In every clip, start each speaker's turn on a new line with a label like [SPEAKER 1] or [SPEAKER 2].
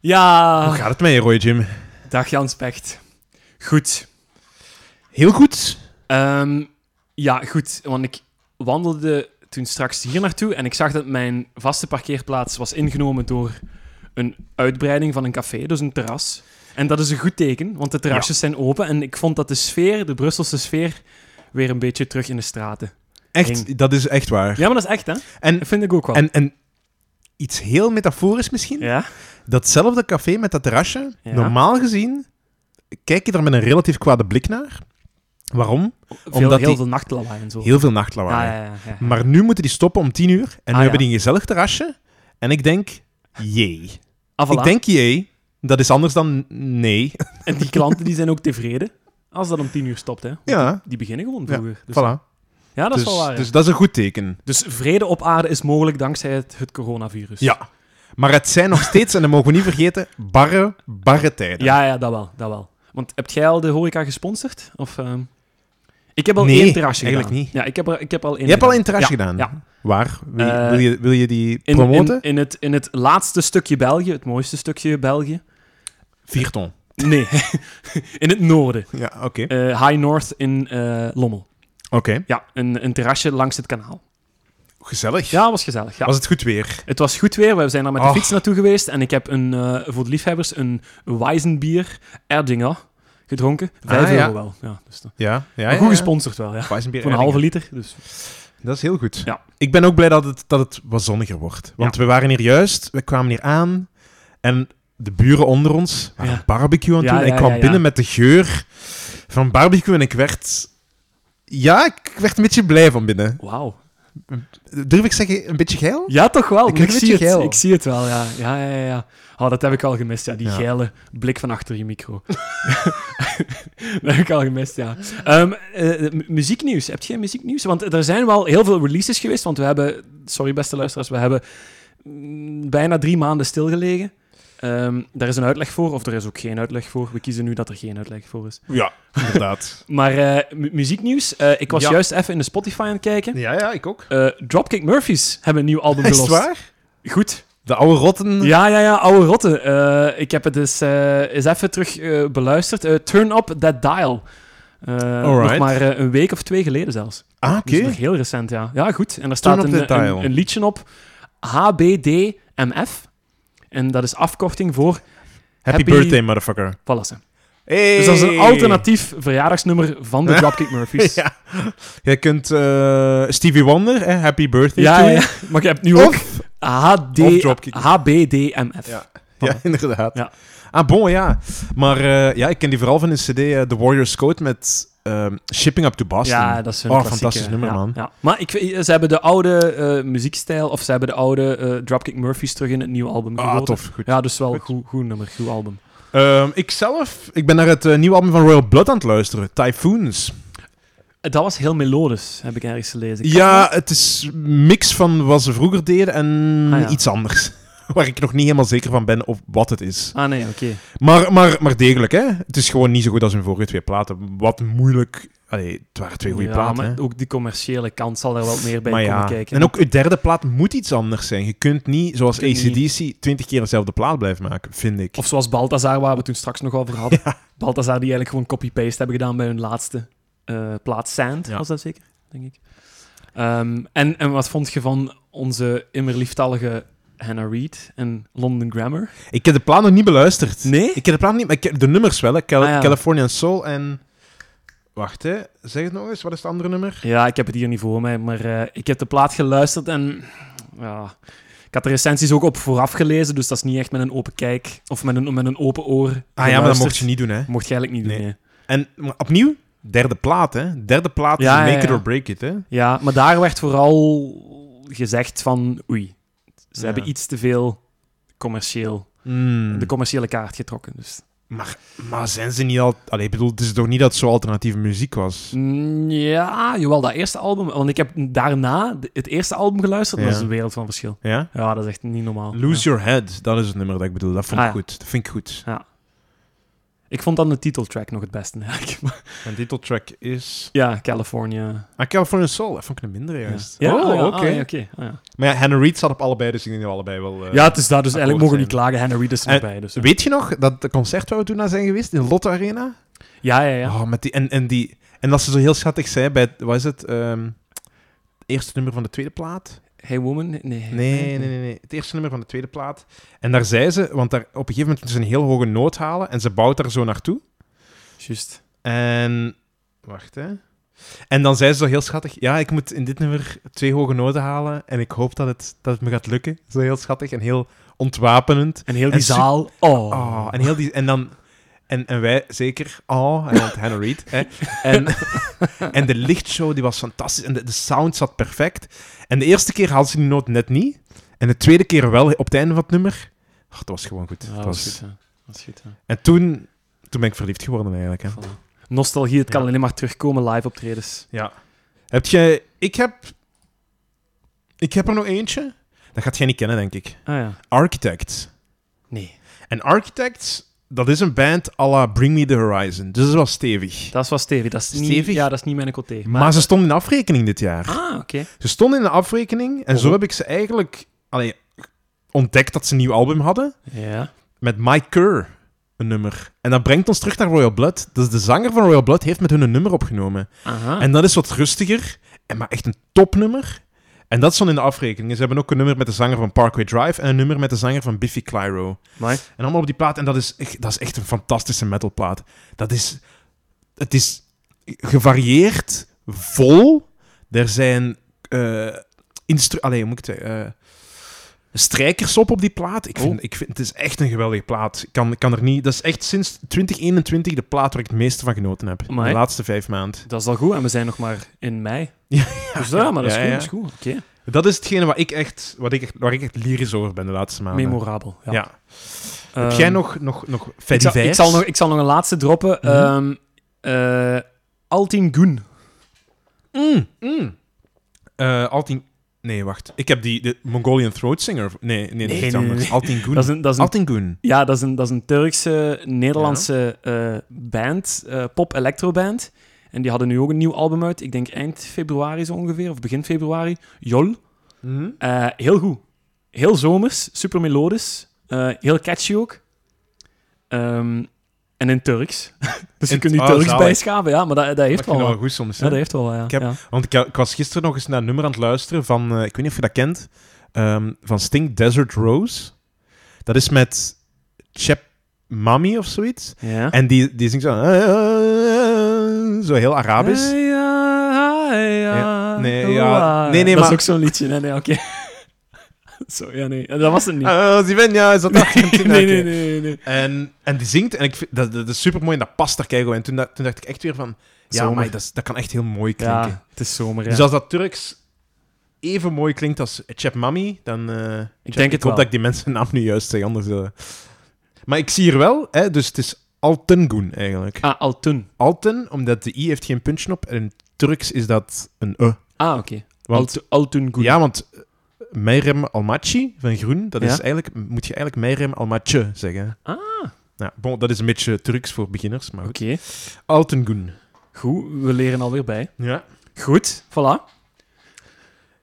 [SPEAKER 1] Ja, Ah.
[SPEAKER 2] Hoe gaat het met je, Roy Jim?
[SPEAKER 1] dag Jans Pecht. Goed.
[SPEAKER 2] Heel goed.
[SPEAKER 1] Ehm, ja, goed. Want ik wandelde toen straks hier naartoe en ik zag dat mijn vaste parkeerplaats was ingenomen door een uitbreiding van een café, dus een terras. En dat is een goed teken, want de terrasjes zijn open en ik vond dat de sfeer, de Brusselse sfeer, weer een beetje terug in de straten. Ging.
[SPEAKER 2] Echt, dat is echt waar.
[SPEAKER 1] Ja, maar dat is echt, hè?
[SPEAKER 2] En,
[SPEAKER 1] Dat vind ik ook wel.
[SPEAKER 2] en, en iets heel metaforisch misschien.
[SPEAKER 1] Ja?
[SPEAKER 2] Datzelfde café met dat terrasje,
[SPEAKER 1] Ja.
[SPEAKER 2] normaal gezien, kijk je daar met een relatief kwade blik naar. Waarom?
[SPEAKER 1] Veel,
[SPEAKER 2] Omdat
[SPEAKER 1] heel
[SPEAKER 2] die-
[SPEAKER 1] veel nachtlawaai en zo.
[SPEAKER 2] Heel veel nachtlawaai.
[SPEAKER 1] Ja, ja, ja, ja. Ah,
[SPEAKER 2] Maar nu moeten die stoppen om tien uur. En nu
[SPEAKER 1] ja.
[SPEAKER 2] hebben die een gezellig terrasje. En ik denk, jee.
[SPEAKER 1] Ah, voilà.
[SPEAKER 2] Ik denk, jee. Dat is anders dan nee.
[SPEAKER 1] En die klanten die zijn ook tevreden als dat om tien uur stopt, hè?
[SPEAKER 2] Ja,
[SPEAKER 1] Die beginnen gewoon
[SPEAKER 2] Ja,
[SPEAKER 1] vroeger. dus-
[SPEAKER 2] voilà.
[SPEAKER 1] Ja, dat
[SPEAKER 2] dus,
[SPEAKER 1] is wel waar. ja.
[SPEAKER 2] dus dat is een goed teken.
[SPEAKER 1] Dus vrede op aarde is mogelijk dankzij het, het coronavirus.
[SPEAKER 2] Ja. Maar het zijn nog steeds, en dat mogen we niet vergeten, barre, barre tijden.
[SPEAKER 1] ja, ja, dat wel. Dat wel. Want hebt jij al de horeca gesponsord? Of, ehm, Ik heb al
[SPEAKER 2] Nee,
[SPEAKER 1] één terrasje
[SPEAKER 2] eigenlijk
[SPEAKER 1] gedaan.
[SPEAKER 2] niet.
[SPEAKER 1] Ja, ik heb, er- ik heb al één
[SPEAKER 2] Je hebt al
[SPEAKER 1] gedaan.
[SPEAKER 2] een terrasje
[SPEAKER 1] Ja,
[SPEAKER 2] gedaan.
[SPEAKER 1] ja.
[SPEAKER 2] Waar? Wil je,
[SPEAKER 1] Eh,
[SPEAKER 2] wil je, wil je die
[SPEAKER 1] In, in-
[SPEAKER 2] promoten?
[SPEAKER 1] in het, in het laatste stukje België, het mooiste stukje België.
[SPEAKER 2] Vier ton.
[SPEAKER 1] Nee, in het noorden.
[SPEAKER 2] Ja, oké.
[SPEAKER 1] Eh, High North in eh, Lommel.
[SPEAKER 2] Oké.
[SPEAKER 1] Ja, een, een terrasje langs het kanaal.
[SPEAKER 2] Gezellig.
[SPEAKER 1] Ja, was gezellig. Ja.
[SPEAKER 2] Was het goed weer?
[SPEAKER 1] Het was goed weer. We zijn daar met de
[SPEAKER 2] Och.
[SPEAKER 1] fiets naartoe geweest. En ik heb een, eh, voor de liefhebbers een Weizenbier Erdinger gedronken. Vijf
[SPEAKER 2] Ah, ja.
[SPEAKER 1] euro wel. Ja, dus dat-
[SPEAKER 2] Ja, ja.
[SPEAKER 1] maar
[SPEAKER 2] ja,
[SPEAKER 1] goed
[SPEAKER 2] ja.
[SPEAKER 1] gesponsord wel, ja.
[SPEAKER 2] Weizenbier
[SPEAKER 1] Voor een
[SPEAKER 2] Erdinger.
[SPEAKER 1] halve liter. Dus.
[SPEAKER 2] Dat is heel goed.
[SPEAKER 1] Ja.
[SPEAKER 2] Ik ben ook blij dat het, dat het wat zonniger wordt. Want we waren hier juist, we kwamen hier aan en de buren onder ons waren
[SPEAKER 1] Ja.
[SPEAKER 2] barbecue aan het
[SPEAKER 1] Ja,
[SPEAKER 2] doen. En
[SPEAKER 1] ja,
[SPEAKER 2] ik kwam
[SPEAKER 1] ja, ja.
[SPEAKER 2] binnen met de geur van barbecue en ik werd... Ja, ik werd een beetje blij van binnen.
[SPEAKER 1] Wauw.
[SPEAKER 2] Durf ik zeggen, een beetje geil?
[SPEAKER 1] Ja, toch wel.
[SPEAKER 2] Ik
[SPEAKER 1] maar Ik,
[SPEAKER 2] kreeg een
[SPEAKER 1] zie het.
[SPEAKER 2] beetje geil.
[SPEAKER 1] ik zie het wel, ja. Ja, ja, ja. ja. Oh, dat heb ik al gemist, ja. Die
[SPEAKER 2] Ja.
[SPEAKER 1] geile blik van achter je micro. dat heb ik al gemist, ja. Ehm, eh, mu- muzieknieuws. Heb jij muzieknieuws? Want er zijn wel heel veel releases geweest. Want we hebben... Sorry, beste luisteraars. We hebben mm, bijna drie maanden stilgelegen. Ehm, daar is een uitleg voor, of er is ook geen uitleg voor. We kiezen nu dat er geen uitleg voor is.
[SPEAKER 2] Ja, inderdaad.
[SPEAKER 1] Maar eh, mu- muzieknieuws. Eh, ik was
[SPEAKER 2] Ja.
[SPEAKER 1] juist even in de Spotify aan het kijken.
[SPEAKER 2] ja, ja, ik ook.
[SPEAKER 1] Eh, Dropkick Murphys hebben een nieuw album
[SPEAKER 2] Is het
[SPEAKER 1] belost.
[SPEAKER 2] waar?
[SPEAKER 1] Goed.
[SPEAKER 2] De oude rotten...
[SPEAKER 1] Ja, ja, ja, oude rotte. Eh, ik heb het dus eh, eens even terug eh, beluisterd. Eh, Turn Up That Dial. Eh, nog
[SPEAKER 2] Alright.
[SPEAKER 1] maar eh, een week of twee geleden zelfs.
[SPEAKER 2] Ah, oké.
[SPEAKER 1] Dus nog heel recent, ja. Ja, goed. En daar staat
[SPEAKER 2] Turn Up
[SPEAKER 1] een,
[SPEAKER 2] That Dial.
[SPEAKER 1] een, een liedje op. HBDMF. En dat is afkorting voor
[SPEAKER 2] Happy,
[SPEAKER 1] Happy-
[SPEAKER 2] birthday, motherfucker.
[SPEAKER 1] Wallace.
[SPEAKER 2] Hey.
[SPEAKER 1] Dus dat is een alternatief verjaardagsnummer van de Dropkick Murphys.
[SPEAKER 2] Ja. Jij kunt eh, Stevie Wonder, hè, Happy Birthday
[SPEAKER 1] ja,
[SPEAKER 2] to
[SPEAKER 1] ja,
[SPEAKER 2] you.
[SPEAKER 1] ja. Maar je hebt nu
[SPEAKER 2] Of-
[SPEAKER 1] ook HD,
[SPEAKER 2] of Dropkick.
[SPEAKER 1] HBDMF.
[SPEAKER 2] Ja.
[SPEAKER 1] Voilà.
[SPEAKER 2] Ja, inderdaad.
[SPEAKER 1] Ja.
[SPEAKER 2] Ah, bon, ja. Maar eh, ja, ik ken die vooral van een CD, eh, The Warriors Code, met ehm, Shipping Up to Boston.
[SPEAKER 1] Ja, dat is een
[SPEAKER 2] Oh,
[SPEAKER 1] klassieke-
[SPEAKER 2] fantastisch nummer,
[SPEAKER 1] ja,
[SPEAKER 2] man.
[SPEAKER 1] ja. Maar ik, weet- ze hebben de oude eh, muziekstijl, of ze hebben de oude eh, Dropkick Murphys terug in het nieuwe album
[SPEAKER 2] Ah,
[SPEAKER 1] gegoten.
[SPEAKER 2] tof. Goed.
[SPEAKER 1] Ja, dus wel
[SPEAKER 2] Goed.
[SPEAKER 1] goed, goed nummer, goed album.
[SPEAKER 2] Ehm, ik zelf, ik ben naar het eh, nieuwe album van Royal Blood aan het luisteren, Typhoons.
[SPEAKER 1] Eh, Dat was heel melodisch, heb ik ergens gelezen. Ik had
[SPEAKER 2] Ja, het is een mix van wat ze vroeger deden en
[SPEAKER 1] Ah, ja.
[SPEAKER 2] iets anders. Waar ik nog niet helemaal zeker van ben of wat het is.
[SPEAKER 1] wel- Ah nee, oké.
[SPEAKER 2] Maar, maar, maar degelijk, hè. Het is gewoon niet zo goed als hun vorige twee platen. Wat moeilijk... Allee, het waren twee goede
[SPEAKER 1] ja,
[SPEAKER 2] platen, hè.
[SPEAKER 1] maar ook die commerciële kant zal daar wel meer bij
[SPEAKER 2] Maar
[SPEAKER 1] komen
[SPEAKER 2] ja,
[SPEAKER 1] kijken.
[SPEAKER 2] en ook je derde plaat moet iets anders zijn. Je kunt niet, zoals
[SPEAKER 1] Je kunt
[SPEAKER 2] ACDC, twintig keer dezelfde plaat blijven maken, vind ik.
[SPEAKER 1] Of zoals Balthazar, waar we toen straks nog over hadden. Balthazar die eigenlijk gewoon copy-paste hebben gedaan bij hun laatste eh plaat Sand,
[SPEAKER 2] Ja.
[SPEAKER 1] was dat zeker, denk ik. Ehm, en, en wat vond je van onze immer lieftallige Hannah Reid en London Grammar?
[SPEAKER 2] Ik heb de plaat nog niet beluisterd.
[SPEAKER 1] Nee?
[SPEAKER 2] Ik heb de plaat niet, maar ik heb de nummers wel. Hè. Cal-
[SPEAKER 1] Ah, ja.
[SPEAKER 2] Californian Soul en... Wacht, hè. Zeg het nog eens. Wat is het andere nummer?
[SPEAKER 1] Ja, ik heb het hier niet voor mij, maar eh, ik heb de plaat geluisterd en ja, ik had de recensies ook op vooraf gelezen, dus dat is niet echt met een open kijk of met een, met een open oor.
[SPEAKER 2] Ah ja, maar dat mocht je niet doen, hè.
[SPEAKER 1] Mocht je eigenlijk niet doen,
[SPEAKER 2] Nee.
[SPEAKER 1] nee.
[SPEAKER 2] En maar opnieuw, derde plaat, hè. Derde plaat
[SPEAKER 1] Ja,
[SPEAKER 2] is
[SPEAKER 1] ja,
[SPEAKER 2] Make It
[SPEAKER 1] ja.
[SPEAKER 2] or Break It, hè.
[SPEAKER 1] Ja, maar daar werd vooral gezegd van oei, ze
[SPEAKER 2] Ja.
[SPEAKER 1] hebben iets te veel commercieel,
[SPEAKER 2] Mm.
[SPEAKER 1] de commerciële kaart getrokken. Dus.
[SPEAKER 2] Maar, maar zijn ze niet al... Allee, ik bedoel, het is toch niet dat het zo alternatieve muziek was?
[SPEAKER 1] Mm, Ja, jawel, dat eerste album, want ik heb daarna de- het eerste album geluisterd, en
[SPEAKER 2] Ja.
[SPEAKER 1] dat is een wereld van verschil.
[SPEAKER 2] Ja?
[SPEAKER 1] Ja, dat is echt niet normaal.
[SPEAKER 2] Lose
[SPEAKER 1] Oh, Ja.
[SPEAKER 2] Your Head, dat is het nummer dat ik bedoel. Dat vond ik
[SPEAKER 1] Ah, ja.
[SPEAKER 2] goed. Dat vind ik goed.
[SPEAKER 1] Ik vond dan de titeltrack nog het beste eigenlijk. Maar-
[SPEAKER 2] En titeltrack is...
[SPEAKER 1] ja, California.
[SPEAKER 2] Ah, California Soul. Dat vond ik een minder juist.
[SPEAKER 1] Ja,
[SPEAKER 2] oh,
[SPEAKER 1] ah, ja,
[SPEAKER 2] oké.
[SPEAKER 1] ah, ja, oké, ah, ja.
[SPEAKER 2] Maar ja, Hannah Reid zat op allebei, dus ik denk dat we allebei wel... eh,
[SPEAKER 1] ja, het is daar dus eigenlijk mogen we niet
[SPEAKER 2] akkoord
[SPEAKER 1] klagen. Hannah Reid is
[SPEAKER 2] En-
[SPEAKER 1] erbij. Dus, ja.
[SPEAKER 2] Weet je nog dat de concert waar we toen naar zijn geweest, in Lotto Arena?
[SPEAKER 1] ja, ja, ja.
[SPEAKER 2] Oh, met die, en, en, die, en dat ze zo heel schattig zei bij, het- wat is het, ehm, het eerste nummer van de tweede plaat?
[SPEAKER 1] Hey Woman? Nee.
[SPEAKER 2] Nee, nee, nee, nee. Het eerste nummer van de tweede plaat. En daar zei ze, want daar, op een gegeven moment moeten ze een heel hoge noot halen en ze bouwt daar zo naartoe.
[SPEAKER 1] Juist.
[SPEAKER 2] En, wacht hè. En dan zei ze zo heel schattig, ja, ik moet in dit nummer twee hoge noten halen en ik hoop dat het, dat het me gaat lukken. Zo heel schattig en heel ontwapenend.
[SPEAKER 1] En heel
[SPEAKER 2] En
[SPEAKER 1] die
[SPEAKER 2] su-
[SPEAKER 1] zaal. Oh.
[SPEAKER 2] Oh, en heel die... En dan... En, en wij zeker, oh, en want Hannah Reid. Hè. En, en de lichtshow die was fantastisch. En de, de sound zat perfect. En de eerste keer haalde ze die noot net niet. En de tweede keer wel, op het einde van het nummer. Ach, dat was gewoon goed.
[SPEAKER 1] Ja,
[SPEAKER 2] dat
[SPEAKER 1] dat
[SPEAKER 2] was...
[SPEAKER 1] is goed, hè. Dat is goed, hè.
[SPEAKER 2] En toen, toen ben ik verliefd geworden eigenlijk. Hè.
[SPEAKER 1] Voilà. Nostalgie, het kan
[SPEAKER 2] Ja.
[SPEAKER 1] alleen maar terugkomen live optredens.
[SPEAKER 2] Ja. Heb jij... Ik heb... Ik heb er nog eentje. Dat gaat jij niet kennen, denk ik.
[SPEAKER 1] Ah ja.
[SPEAKER 2] Architects.
[SPEAKER 1] Nee.
[SPEAKER 2] En Architects, dat is een band à la Bring Me The Horizon. Dus dat is wel stevig.
[SPEAKER 1] Dat is wel stevig. Dat is niet,
[SPEAKER 2] Stevig?
[SPEAKER 1] ja, dat is niet mijn côté.
[SPEAKER 2] Maar, ze stonden in de afrekening dit jaar.
[SPEAKER 1] Ah, oké.
[SPEAKER 2] Ze stonden in de afrekening en zo
[SPEAKER 1] Oh.
[SPEAKER 2] heb ik ze eigenlijk allee, ontdekt dat ze een nieuw album hadden.
[SPEAKER 1] Ja.
[SPEAKER 2] Met Mike Kerr, een nummer. En dat brengt ons terug naar Royal Blood. Dus de zanger van Royal Blood heeft met hun een nummer opgenomen.
[SPEAKER 1] Aha.
[SPEAKER 2] En dat is wat rustiger, en maar echt een topnummer. En dat stond in de afrekening. En Ze hebben ook een nummer met de zanger van Parkway Drive en een nummer met de zanger van Biffy Clyro.
[SPEAKER 1] Amai.
[SPEAKER 2] En allemaal op die plaat. En dat is, echt- dat is echt een fantastische metalplaat. Dat is... Het is gevarieerd, vol. Er zijn... eh instru- Allee, hoe moet ik het zeggen? Eh, strijkers op op die plaat. Ik vind,
[SPEAKER 1] Oh.
[SPEAKER 2] ik vind, het is echt een geweldige plaat. Ik kan, ik kan er niet... Dat is echt sinds 2021 de plaat waar ik het meeste van genoten heb. In
[SPEAKER 1] Amai.
[SPEAKER 2] de laatste vijf maanden.
[SPEAKER 1] Dat is al goed. En we zijn nog maar in mei.
[SPEAKER 2] Ja,
[SPEAKER 1] Dus ja, maar dat is
[SPEAKER 2] ja,
[SPEAKER 1] goed.
[SPEAKER 2] ja. Ah,
[SPEAKER 1] Dat is goed. Oké.
[SPEAKER 2] Dat is hetgene waar ik echt, wat ik, echt- waar ik echt lyrisch over ben de laatste maanden.
[SPEAKER 1] Memorabel. Ja.
[SPEAKER 2] Ja. Heb jij
[SPEAKER 1] Ehm,
[SPEAKER 2] nog, nog, nog
[SPEAKER 1] ik
[SPEAKER 2] Fetty
[SPEAKER 1] zal, ik,
[SPEAKER 2] Vibes?
[SPEAKER 1] zal nog, ik zal nog een laatste droppen.
[SPEAKER 2] Mhm.
[SPEAKER 1] Ehm eh, Altin Goen.
[SPEAKER 2] Mm, mm. Eh, Altin... Nee, wacht. Ik heb die de Mongolian Throat Singer... Nee, nee, dat is
[SPEAKER 1] Nee,
[SPEAKER 2] iets
[SPEAKER 1] nee,
[SPEAKER 2] anders.
[SPEAKER 1] nee.
[SPEAKER 2] Altin Gun.
[SPEAKER 1] Dat is een, dat is een,
[SPEAKER 2] Altin Gun.
[SPEAKER 1] ja, dat is een, dat is een Turkse, Nederlandse eh, band. eh, Pop-electro-band. En die hadden nu ook een nieuw album uit. Ik denk eind februari zo ongeveer. Of begin februari. Jol. Eh, heel goed. Heel zomers, super melodisch. eh, heel catchy ook. Ehm, en in Turks. dus je
[SPEAKER 2] In-
[SPEAKER 1] kunt nu
[SPEAKER 2] oh,
[SPEAKER 1] Turks
[SPEAKER 2] zalig.
[SPEAKER 1] bijschaven, ja, maar dat, dat heeft
[SPEAKER 2] Dat
[SPEAKER 1] wel
[SPEAKER 2] wel
[SPEAKER 1] wat.
[SPEAKER 2] goed soms.
[SPEAKER 1] Ja,
[SPEAKER 2] hè?
[SPEAKER 1] dat heeft wel wat, ja.
[SPEAKER 2] Ik heb-
[SPEAKER 1] ja.
[SPEAKER 2] Want ik, ik was gisteren nog eens naar een nummer aan het luisteren van... eh, ik weet niet of je dat kent. ehm, van Sting, Desert Rose. Dat is met Chep Mami of zoiets.
[SPEAKER 1] Ja.
[SPEAKER 2] En die, die zingt zo... Zo heel Arabisch.
[SPEAKER 1] Hey, ja, hey, ja,
[SPEAKER 2] Ja, nee,
[SPEAKER 1] oh,
[SPEAKER 2] ja.
[SPEAKER 1] ah,
[SPEAKER 2] Nee, nee,
[SPEAKER 1] dat
[SPEAKER 2] maar-
[SPEAKER 1] is ook zo'n liedje. Nee, nee, oké. Zo, ja, nee. Dat was het niet.
[SPEAKER 2] Eh, Zivenja, is dat
[SPEAKER 1] nee, nee, nee, nee, nee.
[SPEAKER 2] En, en die zingt, en ik vind, dat, dat is super mooi en dat past daar keigoed. En toen, da- toen dacht ik echt weer van, ja,
[SPEAKER 1] Zomer.
[SPEAKER 2] maar dat, is- dat kan echt heel mooi klinken.
[SPEAKER 1] Ja, het is zomer, ja.
[SPEAKER 2] Dus als dat Turks even mooi klinkt als Chep Mami, dan... eh,
[SPEAKER 1] Ik denk
[SPEAKER 2] ik
[SPEAKER 1] het
[SPEAKER 2] hoop
[SPEAKER 1] wel.
[SPEAKER 2] dat ik die mensen naam nu juist zeg, anders... eh. Maar ik zie hier wel, hè, dus het is Altengoen eigenlijk.
[SPEAKER 1] Ah, Altun.
[SPEAKER 2] Alten, omdat de i heeft geen puntje op, en in Turks is dat een e.
[SPEAKER 1] Ah, oké.
[SPEAKER 2] Want,
[SPEAKER 1] Altun Altungun.
[SPEAKER 2] ja, want eh, Meirem Almaci van Groen, dat
[SPEAKER 1] Ja.
[SPEAKER 2] is eigenlijk, moet je eigenlijk Meirem Almaci zeggen.
[SPEAKER 1] Ah.
[SPEAKER 2] Ja, bon, dat is een beetje Turks voor beginners, maar goed.
[SPEAKER 1] Oké.
[SPEAKER 2] Altengoen.
[SPEAKER 1] Goed, we leren alweer bij.
[SPEAKER 2] Ja.
[SPEAKER 1] Goed, voilà.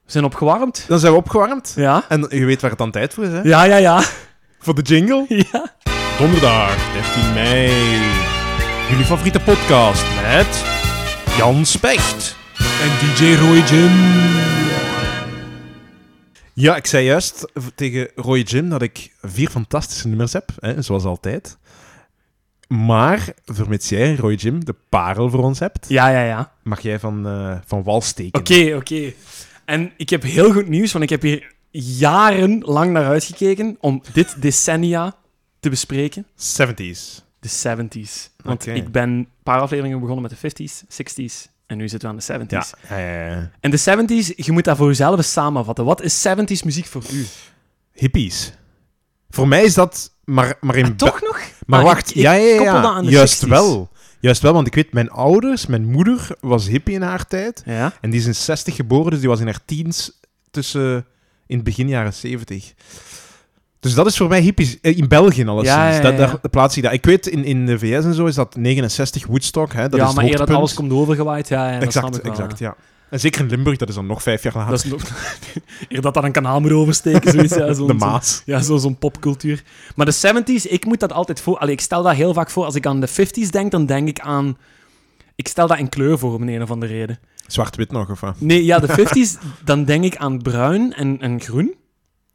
[SPEAKER 1] We zijn opgewarmd.
[SPEAKER 2] Dan zijn we opgewarmd.
[SPEAKER 1] Ja.
[SPEAKER 2] En je weet waar het dan tijd voor is, hè?
[SPEAKER 1] Ja, ja, ja.
[SPEAKER 2] Voor de jingle.
[SPEAKER 1] ja.
[SPEAKER 2] Donderdag, 13 mei. Jullie favoriete podcast met Jan Specht en DJ Roy Jim. Ja, ik zei juist v- tegen Roy Jim dat ik vier fantastische nummers heb, hè, zoals altijd. Maar, vermits jij, Roy Jim, de parel voor ons hebt,
[SPEAKER 1] Ja, ja, ja.
[SPEAKER 2] mag jij van, eh, van wal steken.
[SPEAKER 1] Oké, oké. En ik heb heel goed nieuws, want ik heb hier jarenlang naar uitgekeken om dit decennia te bespreken.
[SPEAKER 2] 70s.
[SPEAKER 1] De 70s. Want
[SPEAKER 2] Oké.
[SPEAKER 1] ik ben een paar afleveringen begonnen met de 50s, 60s en nu zitten we aan de 70s.
[SPEAKER 2] Ja. eh,
[SPEAKER 1] En de 70s, je moet dat voor jezelf eens samenvatten. Wat is 70s muziek voor u?
[SPEAKER 2] hippies. Voor mij is dat maar, maar in... Be-
[SPEAKER 1] Toch nog?
[SPEAKER 2] Maar
[SPEAKER 1] Ah,
[SPEAKER 2] wacht,
[SPEAKER 1] ik- ik
[SPEAKER 2] ja, ja, ja,
[SPEAKER 1] koppel
[SPEAKER 2] ja.
[SPEAKER 1] dat aan de
[SPEAKER 2] Juist
[SPEAKER 1] 60s.
[SPEAKER 2] wel. Juist wel, want ik weet, mijn ouders, mijn moeder was hippie in haar tijd.
[SPEAKER 1] Ja.
[SPEAKER 2] En die is in 60 geboren, dus die was in haar tiens tussen... In het begin jaren 70. Dus dat is voor mij hippies. eh, In België alles.
[SPEAKER 1] Ja, ja, ja, ja.
[SPEAKER 2] Daar plaats ik dat. Ik weet, in, in de VS en zo is dat 69 Woodstock. Hè? Dat
[SPEAKER 1] ja,
[SPEAKER 2] is het
[SPEAKER 1] maar eer dat
[SPEAKER 2] hoogtepunt.
[SPEAKER 1] alles komt overgewaaid, ja, ja, dat
[SPEAKER 2] exact,
[SPEAKER 1] snap ik wel,
[SPEAKER 2] exact,
[SPEAKER 1] ja.
[SPEAKER 2] ja. En zeker in Limburg, dat is dan nog vijf jaar later.
[SPEAKER 1] Dat is nog... eer dat daar een kanaal moet oversteken, zoiets. Ja, zo'n-
[SPEAKER 2] de
[SPEAKER 1] zo'n-
[SPEAKER 2] Maas.
[SPEAKER 1] Ja, zo- zo'n popcultuur. Maar de 70s, ik moet dat altijd voor. Allee, ik stel dat heel vaak voor. Als ik aan de 50s denk, dan denk ik aan. Ik stel dat in kleur voor om een of andere reden.
[SPEAKER 2] Zwart-wit nog, of wat?
[SPEAKER 1] Nee, ja, de 50s, dan denk ik aan bruin en, en groen.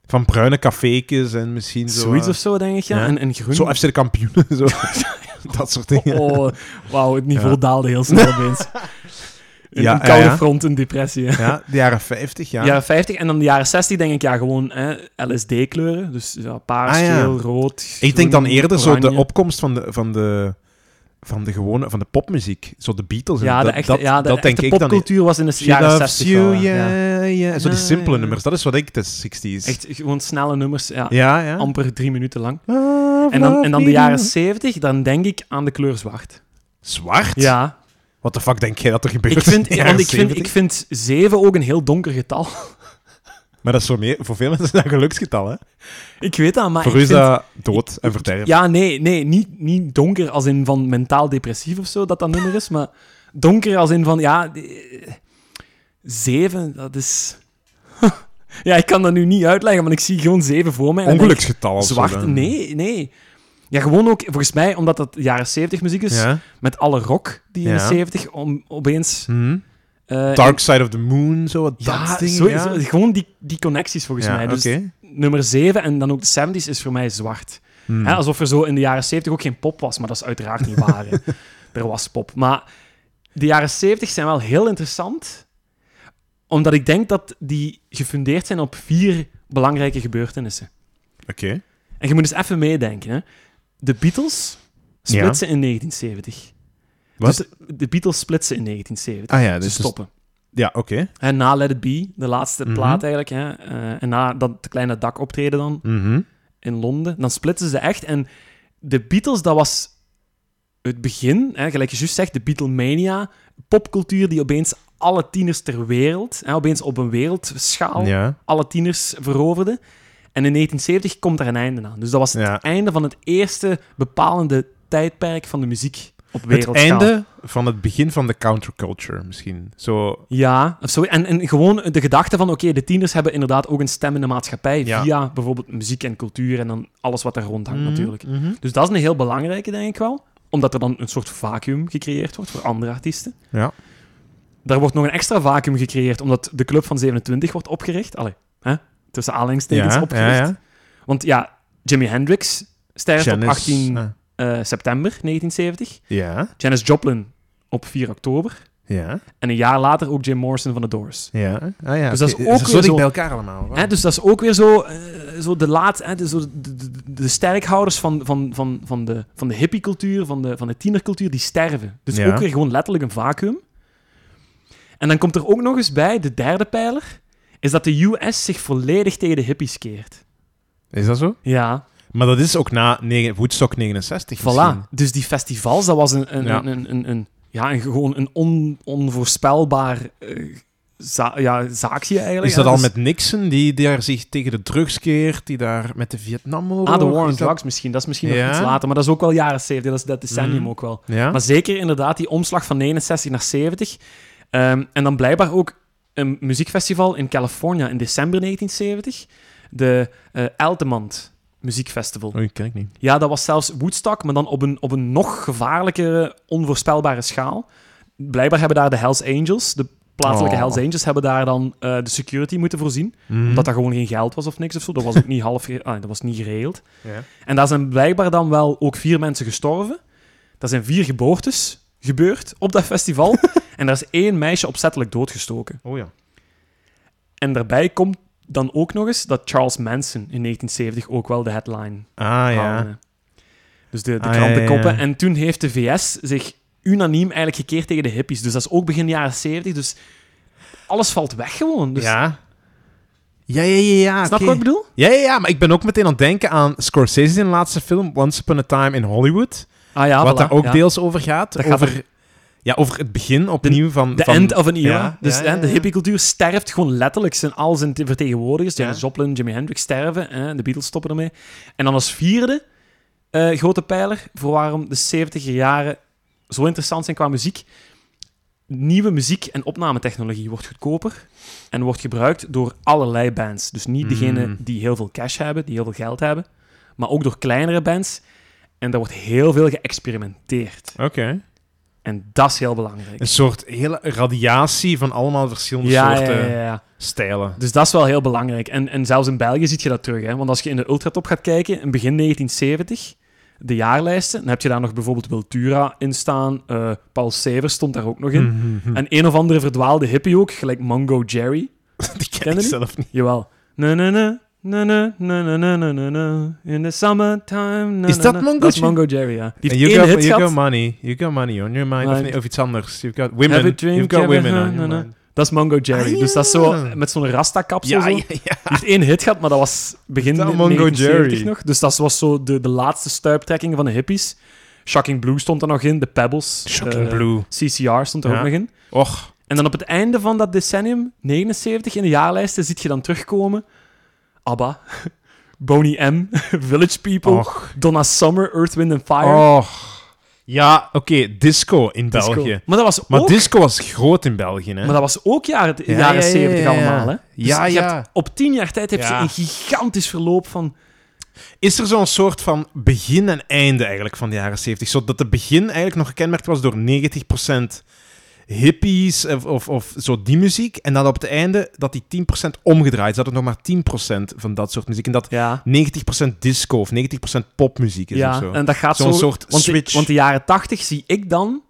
[SPEAKER 2] Van bruine cafékes en misschien zo...
[SPEAKER 1] Zoiets
[SPEAKER 2] eh,
[SPEAKER 1] of zo, denk ik. Ja,
[SPEAKER 2] Ja.
[SPEAKER 1] En, en groen.
[SPEAKER 2] Zo FC de kampioenen, zo. dat soort dingen.
[SPEAKER 1] Oh, wauw, het niveau
[SPEAKER 2] Ja.
[SPEAKER 1] daalde heel snel opeens. Een,
[SPEAKER 2] Ja,
[SPEAKER 1] een koude
[SPEAKER 2] ja, ja.
[SPEAKER 1] front, een depressie. hè.
[SPEAKER 2] Ja, de jaren 50, ja.
[SPEAKER 1] Jaren 50 en dan de jaren 60 denk ik, ja, gewoon LSD-kleuren. Dus ja, paars,
[SPEAKER 2] Ah, ja.
[SPEAKER 1] geel, rood,
[SPEAKER 2] Ik denk dan
[SPEAKER 1] groen,
[SPEAKER 2] eerder zo de
[SPEAKER 1] oranje.
[SPEAKER 2] opkomst van de, van de, van de gewone, van de popmuziek. Zo de Beatles. en
[SPEAKER 1] Ja, de
[SPEAKER 2] dat,
[SPEAKER 1] echte,
[SPEAKER 2] dat,
[SPEAKER 1] ja, de
[SPEAKER 2] dat
[SPEAKER 1] echte
[SPEAKER 2] denk ik dan.
[SPEAKER 1] popcultuur was in de
[SPEAKER 2] She
[SPEAKER 1] jaren
[SPEAKER 2] loves
[SPEAKER 1] 60
[SPEAKER 2] you,
[SPEAKER 1] wel, ja.
[SPEAKER 2] yeah, yeah. Zo die
[SPEAKER 1] Ja,
[SPEAKER 2] simpele
[SPEAKER 1] ja.
[SPEAKER 2] nummers. Dat is wat ik de 60s.
[SPEAKER 1] Echt gewoon snelle nummers, ja.
[SPEAKER 2] Ja, ja.
[SPEAKER 1] Amper drie minuten lang.
[SPEAKER 2] Love,
[SPEAKER 1] En dan,
[SPEAKER 2] love
[SPEAKER 1] en dan
[SPEAKER 2] me
[SPEAKER 1] de jaren
[SPEAKER 2] now.
[SPEAKER 1] 70, dan denk ik aan de kleur zwart.
[SPEAKER 2] Zwart?
[SPEAKER 1] Ja,
[SPEAKER 2] Wat de fuck denk jij dat er gebeurt?
[SPEAKER 1] ik vind,
[SPEAKER 2] in de
[SPEAKER 1] want ik
[SPEAKER 2] jaren
[SPEAKER 1] vind, ik
[SPEAKER 2] 70?
[SPEAKER 1] vind 7 ook een heel donker getal.
[SPEAKER 2] Maar dat is voor, meer, voor veel mensen dat een geluksgetal, hè?
[SPEAKER 1] Ik weet dat, maar
[SPEAKER 2] voor
[SPEAKER 1] Ah, ik
[SPEAKER 2] u is
[SPEAKER 1] vind-
[SPEAKER 2] dat dood en verderf.
[SPEAKER 1] Ja, nee, nee niet, niet donker als in van mentaal depressief of zo, dat dat nummer is, maar donker als in van, ja, eh, zeven, dat is... ja, ik kan dat nu niet uitleggen, want ik zie gewoon zeven voor mij. en dan denk ik,
[SPEAKER 2] Ongeluksgetal of zo
[SPEAKER 1] Zwart,
[SPEAKER 2] dan.
[SPEAKER 1] nee, nee. Ja, gewoon ook, volgens mij, omdat dat jaren 70 muziek is,
[SPEAKER 2] Ja.
[SPEAKER 1] met alle rock die in de
[SPEAKER 2] Ja.
[SPEAKER 1] 70 om, opeens...
[SPEAKER 2] Hm.
[SPEAKER 1] eh,
[SPEAKER 2] Dark Side of the Moon, zo. wat
[SPEAKER 1] in-
[SPEAKER 2] dat
[SPEAKER 1] ja,
[SPEAKER 2] soort dingen,
[SPEAKER 1] zo-
[SPEAKER 2] ja.
[SPEAKER 1] zo- gewoon die, die connecties volgens
[SPEAKER 2] Ja,
[SPEAKER 1] mij. Dus
[SPEAKER 2] oké.
[SPEAKER 1] nummer 7 en dan ook de 70s is voor mij zwart.
[SPEAKER 2] Hm.
[SPEAKER 1] Hè, alsof er zo in de jaren 70 ook geen pop was, maar dat is uiteraard niet waar. hè. er was pop. Maar de jaren 70 zijn wel heel interessant, omdat ik denk dat die gefundeerd zijn op vier belangrijke gebeurtenissen.
[SPEAKER 2] Oké.
[SPEAKER 1] En je moet eens even meedenken. Hè. De Beatles
[SPEAKER 2] Ja.
[SPEAKER 1] splitsen in 1970.
[SPEAKER 2] Wat?
[SPEAKER 1] Dus de Beatles splitsen in 1970.
[SPEAKER 2] ah ja, dus...
[SPEAKER 1] Ze stoppen.
[SPEAKER 2] Ja, oké.
[SPEAKER 1] Hè, na Let It Be, de laatste
[SPEAKER 2] Mhm.
[SPEAKER 1] plaat eigenlijk. Hè. eh, en na dat kleine dak optreden dan
[SPEAKER 2] Mhm.
[SPEAKER 1] in Londen. Dan splitsen ze echt. En de Beatles, dat was het begin. Hè, gelijk je juist zegt, de Beatlemania. Popcultuur die opeens alle tieners ter wereld, hè, opeens op een wereldschaal,
[SPEAKER 2] Ja.
[SPEAKER 1] alle tieners veroverde. En in 1970 komt daar een einde aan. Dus dat was het
[SPEAKER 2] Ja.
[SPEAKER 1] einde van het eerste bepalende tijdperk van de muziek op
[SPEAKER 2] Het
[SPEAKER 1] wereldschaal.
[SPEAKER 2] einde van het begin van de counterculture, misschien. Zo...
[SPEAKER 1] Ja, of zo. En, en gewoon de gedachte van, oké, de tieners hebben inderdaad ook een stem in de maatschappij
[SPEAKER 2] Ja.
[SPEAKER 1] via bijvoorbeeld muziek en cultuur en dan alles wat er rond hangt natuurlijk.
[SPEAKER 2] Mhm.
[SPEAKER 1] Dus dat is een heel belangrijke, denk ik wel. Omdat er dan een soort vacuüm gecreëerd wordt voor andere artiesten.
[SPEAKER 2] Ja.
[SPEAKER 1] Daar wordt nog een extra vacuüm gecreëerd omdat de Club van 27 wordt opgericht. Allee, hè? tussen aanhalingstekens
[SPEAKER 2] Ja,
[SPEAKER 1] opgericht.
[SPEAKER 2] ja, ja.
[SPEAKER 1] Want ja, Jimi Hendrix sterft
[SPEAKER 2] Janis,
[SPEAKER 1] op 18
[SPEAKER 2] ah.
[SPEAKER 1] eh, september 1970.
[SPEAKER 2] Ja,
[SPEAKER 1] Janis Joplin op 4 oktober.
[SPEAKER 2] ja,
[SPEAKER 1] En een jaar later ook Jim Morrison van de Doors.
[SPEAKER 2] ja. Ah, ja
[SPEAKER 1] Dus dat is
[SPEAKER 2] oké.
[SPEAKER 1] ook
[SPEAKER 2] zo
[SPEAKER 1] weer
[SPEAKER 2] dicht
[SPEAKER 1] zo-
[SPEAKER 2] bij elkaar allemaal. Wauw.
[SPEAKER 1] Hè, dus dat is ook weer zo, eh, zo de laatste, hè, de, zo de, de, de sterkhouders van, van, van, van de, van de hippiecultuur, van de, van de tienercultuur, die sterven. Dus
[SPEAKER 2] Ja.
[SPEAKER 1] ook weer gewoon letterlijk een vacuüm. En dan komt er ook nog eens bij, de derde pijler, is dat de US zich volledig tegen de hippies keert. dus-
[SPEAKER 2] Is dat zo?
[SPEAKER 1] Ja,
[SPEAKER 2] Maar dat is ook na negen, Woodstock 69
[SPEAKER 1] voilà.
[SPEAKER 2] misschien.
[SPEAKER 1] Dus die festivals, dat was een, een,
[SPEAKER 2] Ja.
[SPEAKER 1] een, een, een, een- ja, een, gewoon een on, onvoorspelbaar eh, za- ja, zaakje eigenlijk.
[SPEAKER 2] Is
[SPEAKER 1] hè.
[SPEAKER 2] dat al
[SPEAKER 1] Dus-
[SPEAKER 2] met Nixon, die daar zich tegen de drugs keert, die daar met de Vietnamoorlog...
[SPEAKER 1] Ah, de War on
[SPEAKER 2] is dat-
[SPEAKER 1] Drugs misschien. Dat is misschien nog
[SPEAKER 2] Ja?
[SPEAKER 1] iets later, maar dat is ook wel jaren 70. Dat is dat decennium
[SPEAKER 2] Mhm.
[SPEAKER 1] ook wel.
[SPEAKER 2] Ja?
[SPEAKER 1] Maar zeker inderdaad die omslag van 69 naar 70. Ehm, en dan blijkbaar ook een muziekfestival in California in december 1970. De eh Altamont Muziekfestival.
[SPEAKER 2] Oh, ik ken ik niet.
[SPEAKER 1] Ja, dat was zelfs Woodstock, maar dan op een, op een nog gevaarlijkere, onvoorspelbare schaal. Blijkbaar hebben daar de Hells Angels, de plaatselijke
[SPEAKER 2] Oh.
[SPEAKER 1] Hells Angels, hebben daar dan eh, de security moeten voorzien.
[SPEAKER 2] Mhm.
[SPEAKER 1] Omdat daar gewoon geen geld was of niks of zo. Dat was ook niet half... ge- Ah, dat was niet geregeld.
[SPEAKER 2] Mhm. Ja.
[SPEAKER 1] En daar zijn blijkbaar dan wel ook vier mensen gestorven. Daar zijn vier geboortes gebeurd op dat festival. en daar is één meisje opzettelijk doodgestoken.
[SPEAKER 2] Oh ja.
[SPEAKER 1] En daarbij komt dan ook nog eens dat Charles Manson in 1970 ook wel de headline
[SPEAKER 2] Ah ja.
[SPEAKER 1] haalde. Dus de, de
[SPEAKER 2] Ah, ja,
[SPEAKER 1] krantenkoppen.
[SPEAKER 2] ja, ja.
[SPEAKER 1] En toen heeft de VS zich unaniem eigenlijk gekeerd tegen de hippies. Dus dat is ook begin jaren 70. Dus alles valt weg gewoon. Dus,
[SPEAKER 2] Ja. Ja, ja, ja, ja.
[SPEAKER 1] Snap je
[SPEAKER 2] oké.
[SPEAKER 1] wat ik bedoel?
[SPEAKER 2] Ja, ja, ja, maar ik ben ook meteen aan het denken aan Scorsese zijn laatste film, Once Upon a Time in Hollywood.
[SPEAKER 1] Ah ja,
[SPEAKER 2] wat
[SPEAKER 1] voilà,
[SPEAKER 2] daar ook
[SPEAKER 1] ja.
[SPEAKER 2] deels over gaat.
[SPEAKER 1] Dat gaat
[SPEAKER 2] over,
[SPEAKER 1] er-
[SPEAKER 2] Ja, over het begin opnieuw van...
[SPEAKER 1] De
[SPEAKER 2] van,
[SPEAKER 1] end of an era.
[SPEAKER 2] Ja,
[SPEAKER 1] dus
[SPEAKER 2] ja,
[SPEAKER 1] hè,
[SPEAKER 2] ja,
[SPEAKER 1] de
[SPEAKER 2] ja.
[SPEAKER 1] hippiecultuur sterft gewoon letterlijk. Zijn al zijn te- vertegenwoordigers, Janis
[SPEAKER 2] Ja.
[SPEAKER 1] Joplin, Jimi Hendrix, sterven. Hè, de Beatles stoppen ermee. En dan als vierde eh, grote pijler voor waarom de 70 jaren zo interessant zijn qua muziek. Nieuwe muziek en opnametechnologie wordt goedkoper en wordt gebruikt door allerlei bands. Dus niet degene
[SPEAKER 2] Mm.
[SPEAKER 1] die heel veel cash hebben, die heel veel geld hebben, maar ook door kleinere bands. En daar wordt heel veel geëxperimenteerd.
[SPEAKER 2] Oké.
[SPEAKER 1] En dat is heel belangrijk.
[SPEAKER 2] Een soort hele radiatie van allemaal verschillende
[SPEAKER 1] Ja, ja,
[SPEAKER 2] soorten
[SPEAKER 1] ja, ja, ja.
[SPEAKER 2] stijlen.
[SPEAKER 1] Dus dat is wel heel belangrijk. En, en zelfs in België zie je dat terug. Hè? Want als je in de ultratop gaat kijken, in begin 1970, de jaarlijsten, dan heb je daar nog bijvoorbeeld Wiltura in staan. eh, Paul Severs stond daar ook nog
[SPEAKER 2] Hmm.
[SPEAKER 1] in.
[SPEAKER 2] Mhm.
[SPEAKER 1] En een of andere verdwaalde hippie ook, gelijk Mongo Jerry.
[SPEAKER 2] Die ken
[SPEAKER 1] Kennen
[SPEAKER 2] ik
[SPEAKER 1] die?
[SPEAKER 2] zelf niet.
[SPEAKER 1] Jawel. Na, na, na, na, na, na, na, na, na, na, na, in the summertime. na,
[SPEAKER 2] Is
[SPEAKER 1] na,
[SPEAKER 2] dat
[SPEAKER 1] na.
[SPEAKER 2] Mongo
[SPEAKER 1] Dat is
[SPEAKER 2] Jerry?
[SPEAKER 1] Mongo Jerry, ja. Die heeft
[SPEAKER 2] And you
[SPEAKER 1] één
[SPEAKER 2] got,
[SPEAKER 1] hit
[SPEAKER 2] you got
[SPEAKER 1] gehad.
[SPEAKER 2] money. You got money on your mind. Of,
[SPEAKER 1] Mind.
[SPEAKER 2] nee, of iets anders. You've got women.
[SPEAKER 1] Have a drink,
[SPEAKER 2] You've got
[SPEAKER 1] have a-
[SPEAKER 2] women on
[SPEAKER 1] na,
[SPEAKER 2] your
[SPEAKER 1] na.
[SPEAKER 2] mind.
[SPEAKER 1] Dat is Mongo Jerry.
[SPEAKER 2] Ah,
[SPEAKER 1] Dus dat is
[SPEAKER 2] ja.
[SPEAKER 1] zo met zo'n rasta-kapsel.
[SPEAKER 2] Ja,
[SPEAKER 1] zo.
[SPEAKER 2] ja, ja.
[SPEAKER 1] Die heeft één hit gehad, maar dat was begin
[SPEAKER 2] Dat
[SPEAKER 1] 1970
[SPEAKER 2] Jerry.
[SPEAKER 1] nog. Dus dat was zo de, de laatste stuiptrekking van de hippies. Shocking Blue stond er nog in, The Pebbles.
[SPEAKER 2] Shocking
[SPEAKER 1] eh,
[SPEAKER 2] Blue.
[SPEAKER 1] CCR stond er
[SPEAKER 2] Ja.
[SPEAKER 1] ook nog in.
[SPEAKER 2] Och.
[SPEAKER 1] En dan op het einde van dat decennium, 79, in de jaarlijsten, ziet je dan terugkomen... ABBA, Boney M, Village People,
[SPEAKER 2] Och. Oh,
[SPEAKER 1] Donna Summer, Earth, Wind and Fire.
[SPEAKER 2] Och. Ja, oké. disco in
[SPEAKER 1] Disco.
[SPEAKER 2] België.
[SPEAKER 1] Maar dat was
[SPEAKER 2] Maar
[SPEAKER 1] ook...
[SPEAKER 2] disco was groot in België, hè?
[SPEAKER 1] Maar dat was ook jaren,
[SPEAKER 2] Ja,
[SPEAKER 1] jaren
[SPEAKER 2] ja, ja,
[SPEAKER 1] 70
[SPEAKER 2] ja, ja.
[SPEAKER 1] allemaal, hè? Dus
[SPEAKER 2] Ja,
[SPEAKER 1] je
[SPEAKER 2] ja.
[SPEAKER 1] hebt- op tien jaar tijd heb je
[SPEAKER 2] Ja.
[SPEAKER 1] een gigantisch verloop van...
[SPEAKER 2] Is er zo'n soort van begin en einde eigenlijk van de jaren 70? Zodat het begin eigenlijk nog gekenmerkt was door 90% hippies of, of, of zo die muziek. En dan op het einde dat die 10% omgedraaid is. Dat het nog maar 10% van dat soort muziek. En dat
[SPEAKER 1] Ja.
[SPEAKER 2] 90% disco of 90% popmuziek is of
[SPEAKER 1] Ja,
[SPEAKER 2] zo.
[SPEAKER 1] en dat gaat
[SPEAKER 2] Zo'n
[SPEAKER 1] zo...
[SPEAKER 2] soort
[SPEAKER 1] want, de-
[SPEAKER 2] switch.
[SPEAKER 1] want de jaren 80 zie ik dan,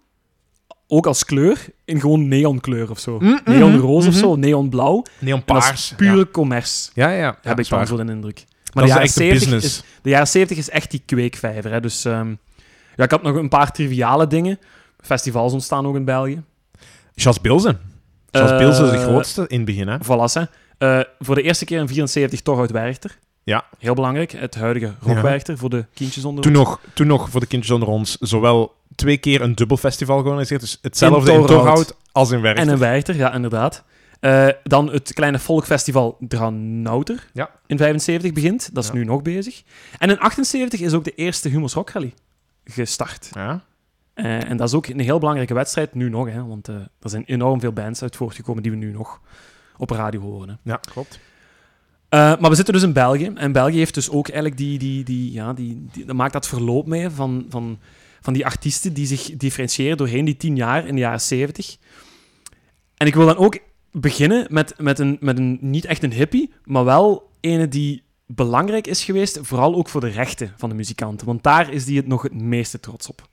[SPEAKER 1] ook als kleur, in gewoon neonkleur of zo.
[SPEAKER 2] Mm, mhm,
[SPEAKER 1] Neonroos
[SPEAKER 2] mhm.
[SPEAKER 1] of zo, neonblauw. En dat is
[SPEAKER 2] Neonpaars.
[SPEAKER 1] pure commerce,
[SPEAKER 2] Ja, ja. ja,
[SPEAKER 1] heb ik
[SPEAKER 2] zwaar.
[SPEAKER 1] dan zo de indruk.
[SPEAKER 2] Dat
[SPEAKER 1] de
[SPEAKER 2] is
[SPEAKER 1] jaren
[SPEAKER 2] echt de
[SPEAKER 1] 70
[SPEAKER 2] business.
[SPEAKER 1] Is, de jaren 70 is echt die kweekvijver. Hè? Dus ehm, ja, ik had nog een paar triviale dingen. Festivals ontstaan ook in België.
[SPEAKER 2] Charles Bilzen. Charles
[SPEAKER 1] Eh,
[SPEAKER 2] Bilzen is de grootste in het begin, hè?
[SPEAKER 1] Voilà, hè. Eh, voor de eerste keer in 74 Torhout Werchter.
[SPEAKER 2] Ja.
[SPEAKER 1] Heel belangrijk. Het huidige Rockwerchter voor de kindjes onder
[SPEAKER 2] Toen
[SPEAKER 1] ons.
[SPEAKER 2] nog, toen nog voor de kindjes onder ons zowel twee keer een dubbel festival georganiseerd, dus hetzelfde
[SPEAKER 1] In
[SPEAKER 2] in
[SPEAKER 1] Torhout.
[SPEAKER 2] Torhout als in Werchter.
[SPEAKER 1] En een Werchter, ja, inderdaad. Eh, dan het kleine volkfestival Dranouter
[SPEAKER 2] Ja.
[SPEAKER 1] in 75 begint. Dat is
[SPEAKER 2] Ja.
[SPEAKER 1] nu nog bezig. En in 78 is ook de eerste Humus Rock Rally gestart.
[SPEAKER 2] Ja.
[SPEAKER 1] Eh, en dat is ook een heel belangrijke wedstrijd, nu nog. Hè, want eh, er zijn enorm veel bands uit voortgekomen die we nu nog op radio horen. Hè.
[SPEAKER 2] ja, klopt.
[SPEAKER 1] Eh, maar we zitten dus in België. En België heeft dus ook eigenlijk die... die, die, ja, die, die- dat maakt dat verloop mee van, van, van die artiesten die zich differentiëren doorheen die tien jaar in de jaren zeventig. En ik wil dan ook beginnen met, met, een, met een... Niet echt een hippie, maar wel ene die belangrijk is geweest, vooral ook voor de rechten van de muzikanten. Want daar is die het nog het meeste trots op.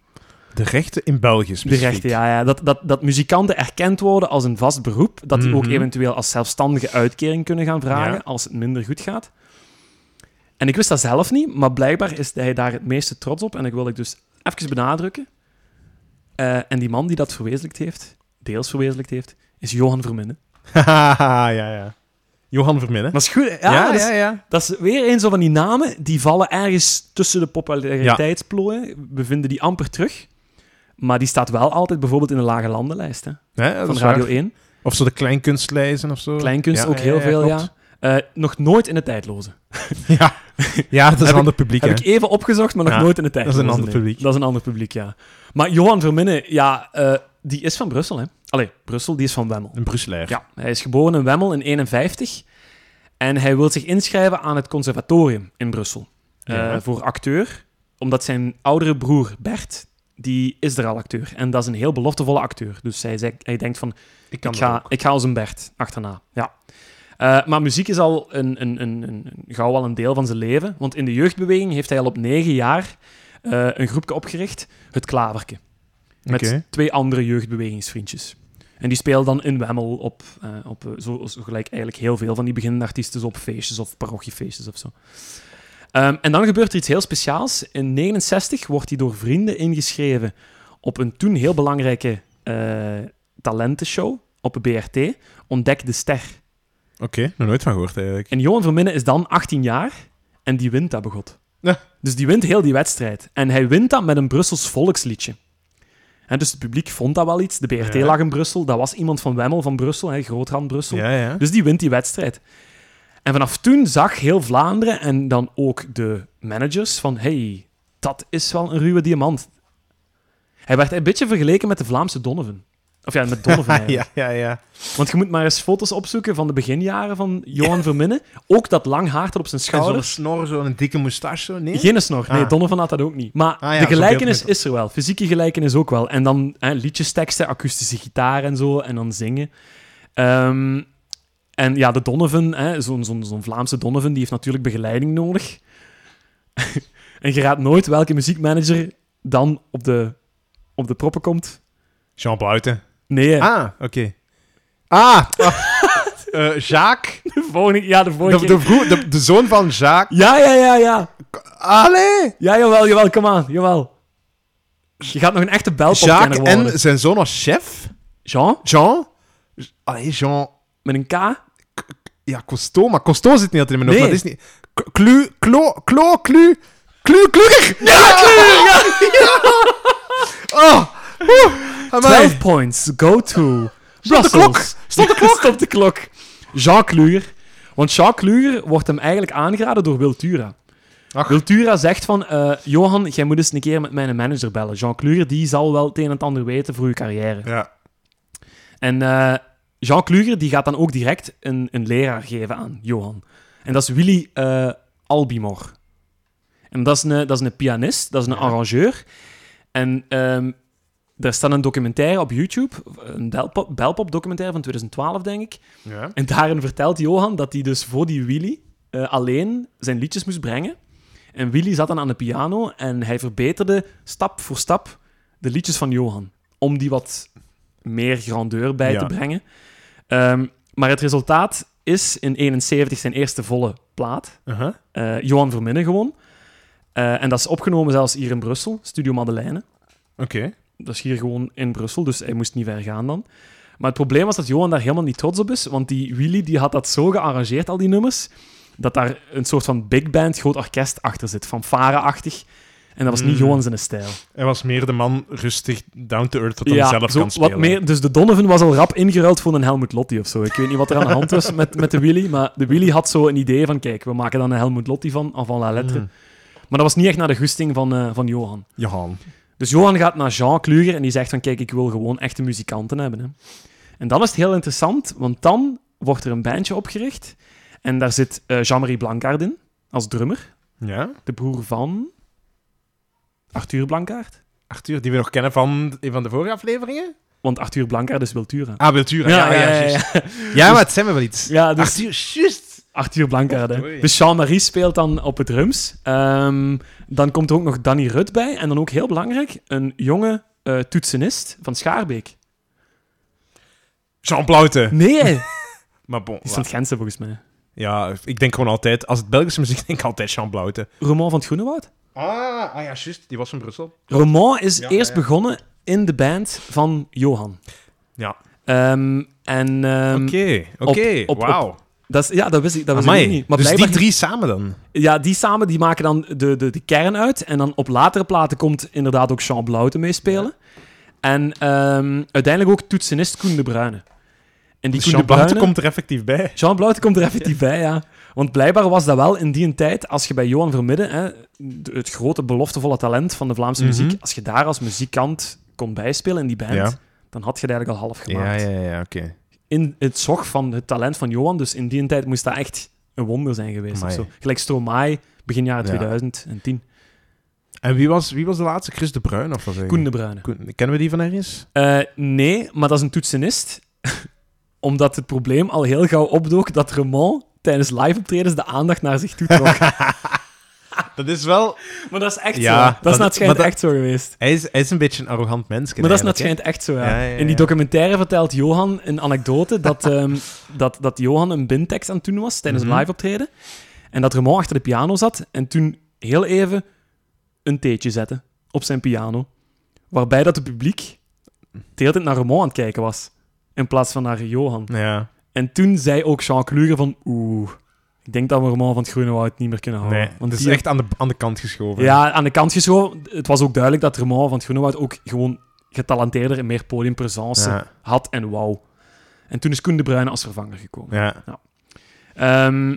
[SPEAKER 2] De rechten in België
[SPEAKER 1] De
[SPEAKER 2] specifiek.
[SPEAKER 1] rechten, ja. ja. Dat, dat, dat muzikanten erkend worden als een vast beroep. Dat die
[SPEAKER 2] Mhm.
[SPEAKER 1] ook eventueel als zelfstandige uitkering kunnen gaan vragen
[SPEAKER 2] Ja.
[SPEAKER 1] als het minder goed gaat. En ik wist dat zelf niet, maar blijkbaar is hij daar het meeste trots op. En ik wil ik dus even benadrukken. Eh, en die man die dat verwezenlijkt heeft, deels verwezenlijkt heeft, is Johan Verminnen.
[SPEAKER 2] ja, ja. Johan Verminnen.
[SPEAKER 1] Maar is goed, hè? ja,
[SPEAKER 2] Ja, ja,
[SPEAKER 1] dat, is,
[SPEAKER 2] ja,
[SPEAKER 1] dat is weer een zo van die namen, die vallen ergens tussen de populariteitsplooien. We vinden die amper terug. Maar die staat wel altijd bijvoorbeeld in de lage landenlijst hè,
[SPEAKER 2] Ja, dat
[SPEAKER 1] van
[SPEAKER 2] is waar.
[SPEAKER 1] Radio 1.
[SPEAKER 2] Of zo de kleinkunstlijzen of zo.
[SPEAKER 1] Kleinkunst
[SPEAKER 2] Ja,
[SPEAKER 1] ook
[SPEAKER 2] ja,
[SPEAKER 1] heel
[SPEAKER 2] ja,
[SPEAKER 1] veel,
[SPEAKER 2] klopt.
[SPEAKER 1] ja. Eh, nog nooit in het tijdloze.
[SPEAKER 2] Ja. ja,
[SPEAKER 1] Heb
[SPEAKER 2] dat is een
[SPEAKER 1] ik-
[SPEAKER 2] ander publiek, hè.
[SPEAKER 1] Heb ik even opgezocht, maar nog
[SPEAKER 2] Ja,
[SPEAKER 1] nooit in het
[SPEAKER 2] is een
[SPEAKER 1] tijdloze.
[SPEAKER 2] ander
[SPEAKER 1] nee.
[SPEAKER 2] publiek.
[SPEAKER 1] Dat is een ander publiek, ja. Maar Johan Verminnen, ja, eh, die is van Brussel, hè. Allee, Brussel, die is van Wemmel.
[SPEAKER 2] Een Brusselaar.
[SPEAKER 1] e- Ja, hij is geboren in Wemmel in 51. En hij wil zich inschrijven aan het conservatorium in Brussel. eh,
[SPEAKER 2] Ja.
[SPEAKER 1] Voor acteur, omdat zijn oudere broer Bert, die is er al acteur. En dat is een heel beloftevolle acteur. Dus hij, zei- hij denkt van,
[SPEAKER 2] Ik
[SPEAKER 1] ik ga, ik ga als een Bert achterna. Ja. Eh, maar muziek is al een, een, een, een, een- gauw al een deel van zijn leven. Want in de jeugdbeweging heeft hij al op negen jaar eh, een groepje opgericht, het Klaverke. Met
[SPEAKER 2] Oké.
[SPEAKER 1] twee andere jeugdbewegingsvriendjes. En die spelen dan in Wemmel op, eh, op eh, zo, zo gelijk eigenlijk heel veel van die beginnende artiesten op feestjes of parochiefeestjes of zo. Ehm, en dan gebeurt er iets heel speciaals. In 69 wordt hij door vrienden ingeschreven op een toen heel belangrijke eh, talentenshow op de BRT, Ontdek de Ster.
[SPEAKER 2] Oké, nog nooit van gehoord, eigenlijk.
[SPEAKER 1] En Johan Verminnen is dan 18 jaar en die wint dat begot.
[SPEAKER 2] Ja.
[SPEAKER 1] Dus die wint heel die wedstrijd. En hij wint dat met een Brussels volksliedje. Hè, dus het publiek vond dat wel iets. De BRT
[SPEAKER 2] Ja.
[SPEAKER 1] lag in Brussel. Dat was iemand van Wemmel van Brussel, hè, Grootrand Brussel.
[SPEAKER 2] Ja, ja.
[SPEAKER 1] Dus die wint die wedstrijd. En vanaf toen zag heel Vlaanderen en dan ook de managers van... hey, dat is wel een ruwe diamant. Hij werd een beetje vergeleken met de Vlaamse Donovan. Of ja, met Donovan eigenlijk.
[SPEAKER 2] ja, ja, ja.
[SPEAKER 1] Want je moet maar eens foto's opzoeken van de beginjaren van Johan Verminnen. Ook dat lang haar tot op zijn
[SPEAKER 2] En zo'n
[SPEAKER 1] schouders.
[SPEAKER 2] snor, zo'n dikke moustache, zo, nee?
[SPEAKER 1] Geen snor. Nee,
[SPEAKER 2] Ah.
[SPEAKER 1] Donovan had dat ook niet. Maar
[SPEAKER 2] Ah
[SPEAKER 1] de
[SPEAKER 2] ja, zo'n
[SPEAKER 1] gelijkenis
[SPEAKER 2] beeldmiddel.
[SPEAKER 1] is er wel. Fysieke gelijkenis ook wel. En dan hè, liedjesteksten, akoestische gitaar en zo. En dan zingen. Ehm, en ja, de Donovan, hè, zo'n, zo'n, zo'n Vlaamse Donovan, die heeft natuurlijk begeleiding nodig. en je raadt nooit welke muziekmanager dan op de, op de proppen komt.
[SPEAKER 2] Jean Buiten.
[SPEAKER 1] Nee, hè.
[SPEAKER 2] Ah, oké. Ah! Eh, Jacques.
[SPEAKER 1] de volgende, ja, de
[SPEAKER 2] De,
[SPEAKER 1] volgende keer.
[SPEAKER 2] de, vro- de, de zoon van Jacques.
[SPEAKER 1] Ja, ja, ja, ja.
[SPEAKER 2] Allee!
[SPEAKER 1] Ja, jawel, jawel, kom aan, jawel. Je gaat nog een echte belpopkenner
[SPEAKER 2] Jacques
[SPEAKER 1] worden.
[SPEAKER 2] en zijn zoon als chef.
[SPEAKER 1] Jean,
[SPEAKER 2] Jean. Allee, Jean.
[SPEAKER 1] met een K.
[SPEAKER 2] Ja, Costo, maar Costo zit niet altijd in mijn hoofd.
[SPEAKER 1] Nee.
[SPEAKER 2] maar Dat is niet... K- Clu, Klo, Klo, Clu, Clu, Kluger! Ja, Oh! Oeh, amai.
[SPEAKER 1] 12 points, go to
[SPEAKER 2] Stop de klok.
[SPEAKER 1] Brussels. Stop de klok. Stop de klok. Jean Kluger. Want Jean Kluger wordt hem eigenlijk aangeraden door Wiltura.
[SPEAKER 2] Ach.
[SPEAKER 1] Wiltura zegt van, eh, Johan, jij moet eens een keer met mijn manager bellen. Jean Kluger, die zal wel het een en het ander weten voor je carrière.
[SPEAKER 2] Ja.
[SPEAKER 1] En eh, Jean Kluger die gaat dan ook direct een, een leraar geven aan Johan. En dat is Willy eh, Albimor. En dat is, een, dat is een pianist, dat is een
[SPEAKER 2] Ja.
[SPEAKER 1] arrangeur. En ehm daar staat een documentaire op YouTube, een belpop, belpop documentaire van 2012, denk ik.
[SPEAKER 2] ja.
[SPEAKER 1] En daarin vertelt Johan dat hij dus voor die Willy eh, alleen zijn liedjes moest brengen. En Willy zat dan aan de piano en hij verbeterde stap voor stap de liedjes van Johan. Om die wat meer grandeur bij
[SPEAKER 2] Ja.
[SPEAKER 1] te brengen. Ehm, maar het resultaat is in 71 zijn eerste volle plaat.
[SPEAKER 2] Uh-huh.
[SPEAKER 1] Eh, Johan Verminnen gewoon. Eh, en dat is opgenomen zelfs hier in Brussel, Studio Madeleine.
[SPEAKER 2] Oké.
[SPEAKER 1] Dat is hier gewoon in Brussel, dus hij moest niet ver gaan dan. Maar het probleem was dat Johan daar helemaal niet trots op is, want die Willy die had dat zo gearrangeerd, al die nummers, dat daar een soort van big band, groot orkest achter zit, fanfare-achtig. En dat was niet
[SPEAKER 2] Mm.
[SPEAKER 1] Johan zijn stijl.
[SPEAKER 2] Hij was meer de man rustig down to earth wat hij zelf
[SPEAKER 1] zo
[SPEAKER 2] kan spelen.
[SPEAKER 1] Wat meer, dus de Donovan was al rap ingeruild voor een Helmut Lotti of zo. Ik weet niet wat er aan de hand was met, met de Willy, maar de Willy had zo een idee van, kijk, we maken dan een Helmut Lotti van, van la lettre.
[SPEAKER 2] Mm.
[SPEAKER 1] Maar dat was niet echt naar de goesting van, eh, van Johan.
[SPEAKER 2] Johan.
[SPEAKER 1] Dus Johan gaat naar Jean Kluger en die zegt van kijk, ik wil gewoon echte muzikanten hebben. Hè. En dan is het heel interessant, want dan wordt er een bandje opgericht en daar zit eh, Jean-Marie Blankaard in als drummer,
[SPEAKER 2] Ja.
[SPEAKER 1] de broer van Arthur Blankaard.
[SPEAKER 2] Arthur, die we nog kennen van een van de vorige afleveringen.
[SPEAKER 1] Want Arthur Blankaard is Wiltura.
[SPEAKER 2] Ah, Wiltura. Ja, ja, ja. juist.
[SPEAKER 1] ja.
[SPEAKER 2] Ja, maar het zijn we wel iets.
[SPEAKER 1] Ja, dus
[SPEAKER 2] Arthur, juist.
[SPEAKER 1] Arthur Blankaard.
[SPEAKER 2] Oh,
[SPEAKER 1] hè.
[SPEAKER 2] doei.
[SPEAKER 1] Dus Jean-Marie speelt dan op het drums. Ehm, dan komt er ook nog Danny Rut bij en dan ook heel belangrijk, een jonge eh, toetsenist van Schaarbeek.
[SPEAKER 2] Jean Plauten.
[SPEAKER 1] Nee, die
[SPEAKER 2] Maar bon.
[SPEAKER 1] is van het Gentse volgens mij.
[SPEAKER 2] Ja, ik denk gewoon altijd, als het Belgische muziek, denk ik altijd Jean Blauten.
[SPEAKER 1] Roman van het Groenewoud?
[SPEAKER 2] Ah, ah ja, juist. Die was van Brussel.
[SPEAKER 1] Roman is
[SPEAKER 2] Ja,
[SPEAKER 1] eerst
[SPEAKER 2] ja.
[SPEAKER 1] begonnen in de band van Johan.
[SPEAKER 2] Ja.
[SPEAKER 1] Ehm, en ehm,
[SPEAKER 2] Oké,
[SPEAKER 1] op-
[SPEAKER 2] oké.
[SPEAKER 1] op-
[SPEAKER 2] Wauw.
[SPEAKER 1] dat is, ja, dat wist ik, dat wist ik
[SPEAKER 2] Amai.
[SPEAKER 1] ook niet. Maar
[SPEAKER 2] dus die
[SPEAKER 1] blijkbaar,
[SPEAKER 2] drie samen dan?
[SPEAKER 1] ja, die samen die maken dan de, de, de kern uit. En dan op latere platen komt inderdaad ook Jean Blauten meespelen. En ehm, uiteindelijk ook toetsenist Koen de Bruyne. En die
[SPEAKER 2] Dus
[SPEAKER 1] Koen
[SPEAKER 2] Jean
[SPEAKER 1] de Bruyne,
[SPEAKER 2] Blauten komt er effectief bij.
[SPEAKER 1] Jean Blauten komt er effectief bij, ja. Want blijkbaar was dat wel in die tijd, als je bij Johan Vermidden, hè, de- het grote beloftevolle talent van de Vlaamse
[SPEAKER 2] Mhm.
[SPEAKER 1] muziek, als je daar als muzikant kon bijspelen in die band,
[SPEAKER 2] Ja.
[SPEAKER 1] dan had je het eigenlijk al half
[SPEAKER 2] Ja,
[SPEAKER 1] gemaakt.
[SPEAKER 2] ja, ja, oké.
[SPEAKER 1] In het zog van het talent van Johan, dus in die tijd moest dat echt een wonder zijn geweest. Of
[SPEAKER 2] Amai.
[SPEAKER 1] zo. Gelijk Stromae, begin jaren
[SPEAKER 2] Ja.
[SPEAKER 1] 2010.
[SPEAKER 2] En wie was, wie was de laatste? Chris de Bruin of wat zeg ik?
[SPEAKER 1] Koen de Bruyne.
[SPEAKER 2] Koen- Kennen we die van ergens?
[SPEAKER 1] Eh, nee, maar dat is een toetsenist. Omdat het probleem al heel gauw opdook dat Raymond tijdens live-optredens de aandacht naar zich toe trok.
[SPEAKER 2] Dat is wel...
[SPEAKER 1] Maar dat is echt
[SPEAKER 2] Ja,
[SPEAKER 1] zo. Dat is
[SPEAKER 2] dat-
[SPEAKER 1] naar het schijnt
[SPEAKER 2] maar dat-
[SPEAKER 1] echt zo geweest.
[SPEAKER 2] Hij is, hij is een beetje een arrogant mens.
[SPEAKER 1] Maar dat is naar het schijnt
[SPEAKER 2] eigenlijk,
[SPEAKER 1] echt zo, ja.
[SPEAKER 2] Ja, ja, ja.
[SPEAKER 1] In die documentaire vertelt Johan een anekdote dat, ehm, dat, dat Johan een bintekst aan het doen was tijdens
[SPEAKER 2] Mhm.
[SPEAKER 1] een live optreden. En dat Raymond achter de piano zat en toen heel even een theetje zette op zijn piano. Waarbij dat het publiek de hele tijd naar Raymond aan het kijken was. In plaats van naar Johan.
[SPEAKER 2] hè? Ja.
[SPEAKER 1] En toen zei ook Jean Kluger van... Oeh, ik denk dat we Raymond van het Groene Woud niet meer kunnen houden.
[SPEAKER 2] Nee, Oh, want het is
[SPEAKER 1] die-
[SPEAKER 2] echt aan de, aan de kant geschoven.
[SPEAKER 1] Ja, aan de kant geschoven. Het was ook duidelijk dat Raymond van het Groenewoud ook gewoon getalenteerder en meer podiumpresence
[SPEAKER 2] Ja.
[SPEAKER 1] had en wou. En toen is Koen de Bruyne als vervanger gekomen.
[SPEAKER 2] Ja.
[SPEAKER 1] Ehm,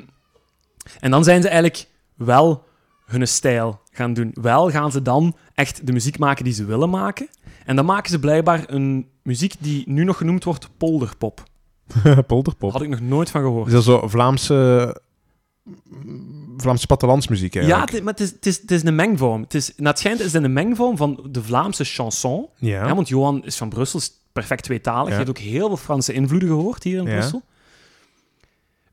[SPEAKER 1] en dan zijn ze eigenlijk wel hun stijl gaan doen. Wel gaan ze dan echt de muziek maken die ze willen maken. En dan maken ze blijkbaar een muziek die nu nog genoemd wordt polderpop.
[SPEAKER 2] Polderpop.
[SPEAKER 1] Had ik nog nooit van gehoord.
[SPEAKER 2] Is dat zo Vlaamse... Vlaamse plattelandsmuziek
[SPEAKER 1] Ja,
[SPEAKER 2] eigenlijk?
[SPEAKER 1] het, maar het is, het, is, het is een mengvorm. Het is, naar het schijnt is het een mengvorm van de Vlaamse chanson.
[SPEAKER 2] Ja.
[SPEAKER 1] Hè, want Johan is van Brussel, is perfect tweetalig.
[SPEAKER 2] Ja.
[SPEAKER 1] Je hebt ook heel veel Franse invloeden gehoord hier in
[SPEAKER 2] Ja.
[SPEAKER 1] Brussel.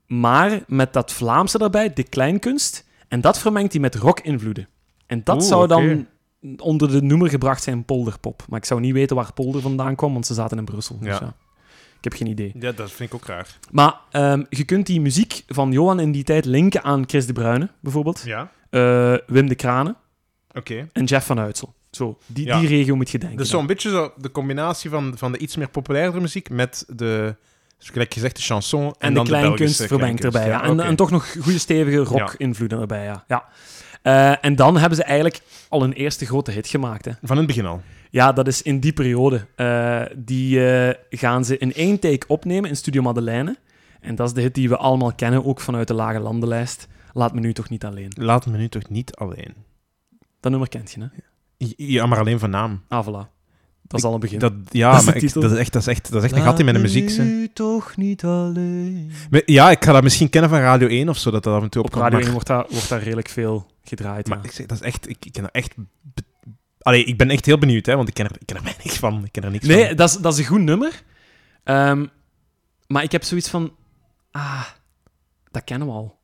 [SPEAKER 1] Maar met dat Vlaamse daarbij, de kleinkunst, en dat vermengt hij met rock-invloeden. En dat
[SPEAKER 2] Oeh,
[SPEAKER 1] zou dan
[SPEAKER 2] oké.
[SPEAKER 1] onder de noemer gebracht zijn polderpop. Maar ik zou niet weten waar polder vandaan kwam, want ze zaten in Brussel. Dus
[SPEAKER 2] Ja.
[SPEAKER 1] ja. Ik heb geen idee.
[SPEAKER 2] Ja, dat vind ik ook raar.
[SPEAKER 1] Maar ehm, je kunt die muziek van Johan in die tijd linken aan Chris de Bruyne, bijvoorbeeld.
[SPEAKER 2] Ja,
[SPEAKER 1] Eh, Wim de Kranen
[SPEAKER 2] oké.
[SPEAKER 1] en Jeff van Uitsel. Zo, die,
[SPEAKER 2] Ja.
[SPEAKER 1] die regio moet je denken.
[SPEAKER 2] Dus zo'n beetje zo de combinatie van, van de iets meer populaire muziek met de, zoals gelijk gezegd, de chanson en,
[SPEAKER 1] En,
[SPEAKER 2] dan
[SPEAKER 1] de
[SPEAKER 2] de
[SPEAKER 1] kleinkunst
[SPEAKER 2] Belgische
[SPEAKER 1] vermengt
[SPEAKER 2] kleinkunst.
[SPEAKER 1] erbij. Ja.
[SPEAKER 2] Ja,
[SPEAKER 1] En,
[SPEAKER 2] oké.
[SPEAKER 1] en toch nog goede stevige rock-invloeden erbij. Ja. Ja. Eh, en dan hebben ze eigenlijk al een eerste grote hit gemaakt. Hè.
[SPEAKER 2] Van het begin al.
[SPEAKER 1] Ja, dat is in die periode. Eh, die eh, gaan ze in één take opnemen in Studio Madeleine. En dat is de hit die we allemaal kennen, ook vanuit de lage landenlijst. Laat me nu toch niet alleen.
[SPEAKER 2] Laat me nu toch niet alleen.
[SPEAKER 1] Dat nummer kent je, hè?
[SPEAKER 2] Ja, maar alleen van naam.
[SPEAKER 1] Ah, voilà. Dat is al een begin.
[SPEAKER 2] Dat, ja,
[SPEAKER 1] Dat is de
[SPEAKER 2] maar ik-
[SPEAKER 1] titel. Ah.
[SPEAKER 2] dat is echt, dat is echt, dat is echt een gat in mijn muziek.
[SPEAKER 1] Laat
[SPEAKER 2] ze.
[SPEAKER 1] me nu toch niet alleen.
[SPEAKER 2] Maar Ja, ik ga dat misschien kennen van Radio 1 of zo, dat dat af en toe
[SPEAKER 1] Op
[SPEAKER 2] opkomt.
[SPEAKER 1] Radio
[SPEAKER 2] maar-
[SPEAKER 1] 1 wordt daar, wordt daar redelijk veel gedraaid.
[SPEAKER 2] Maar
[SPEAKER 1] ja.
[SPEAKER 2] ik zeg, dat is echt, ik, ik ken er echt... be- Allee, ik ben echt heel benieuwd, hè, want ik ken er, ik ken er weinig van. Ik ken er niks
[SPEAKER 1] Nee,
[SPEAKER 2] van.
[SPEAKER 1] dat is, dat is een goed nummer. Ehm, maar ik heb zoiets van... Ah, dat kennen we al.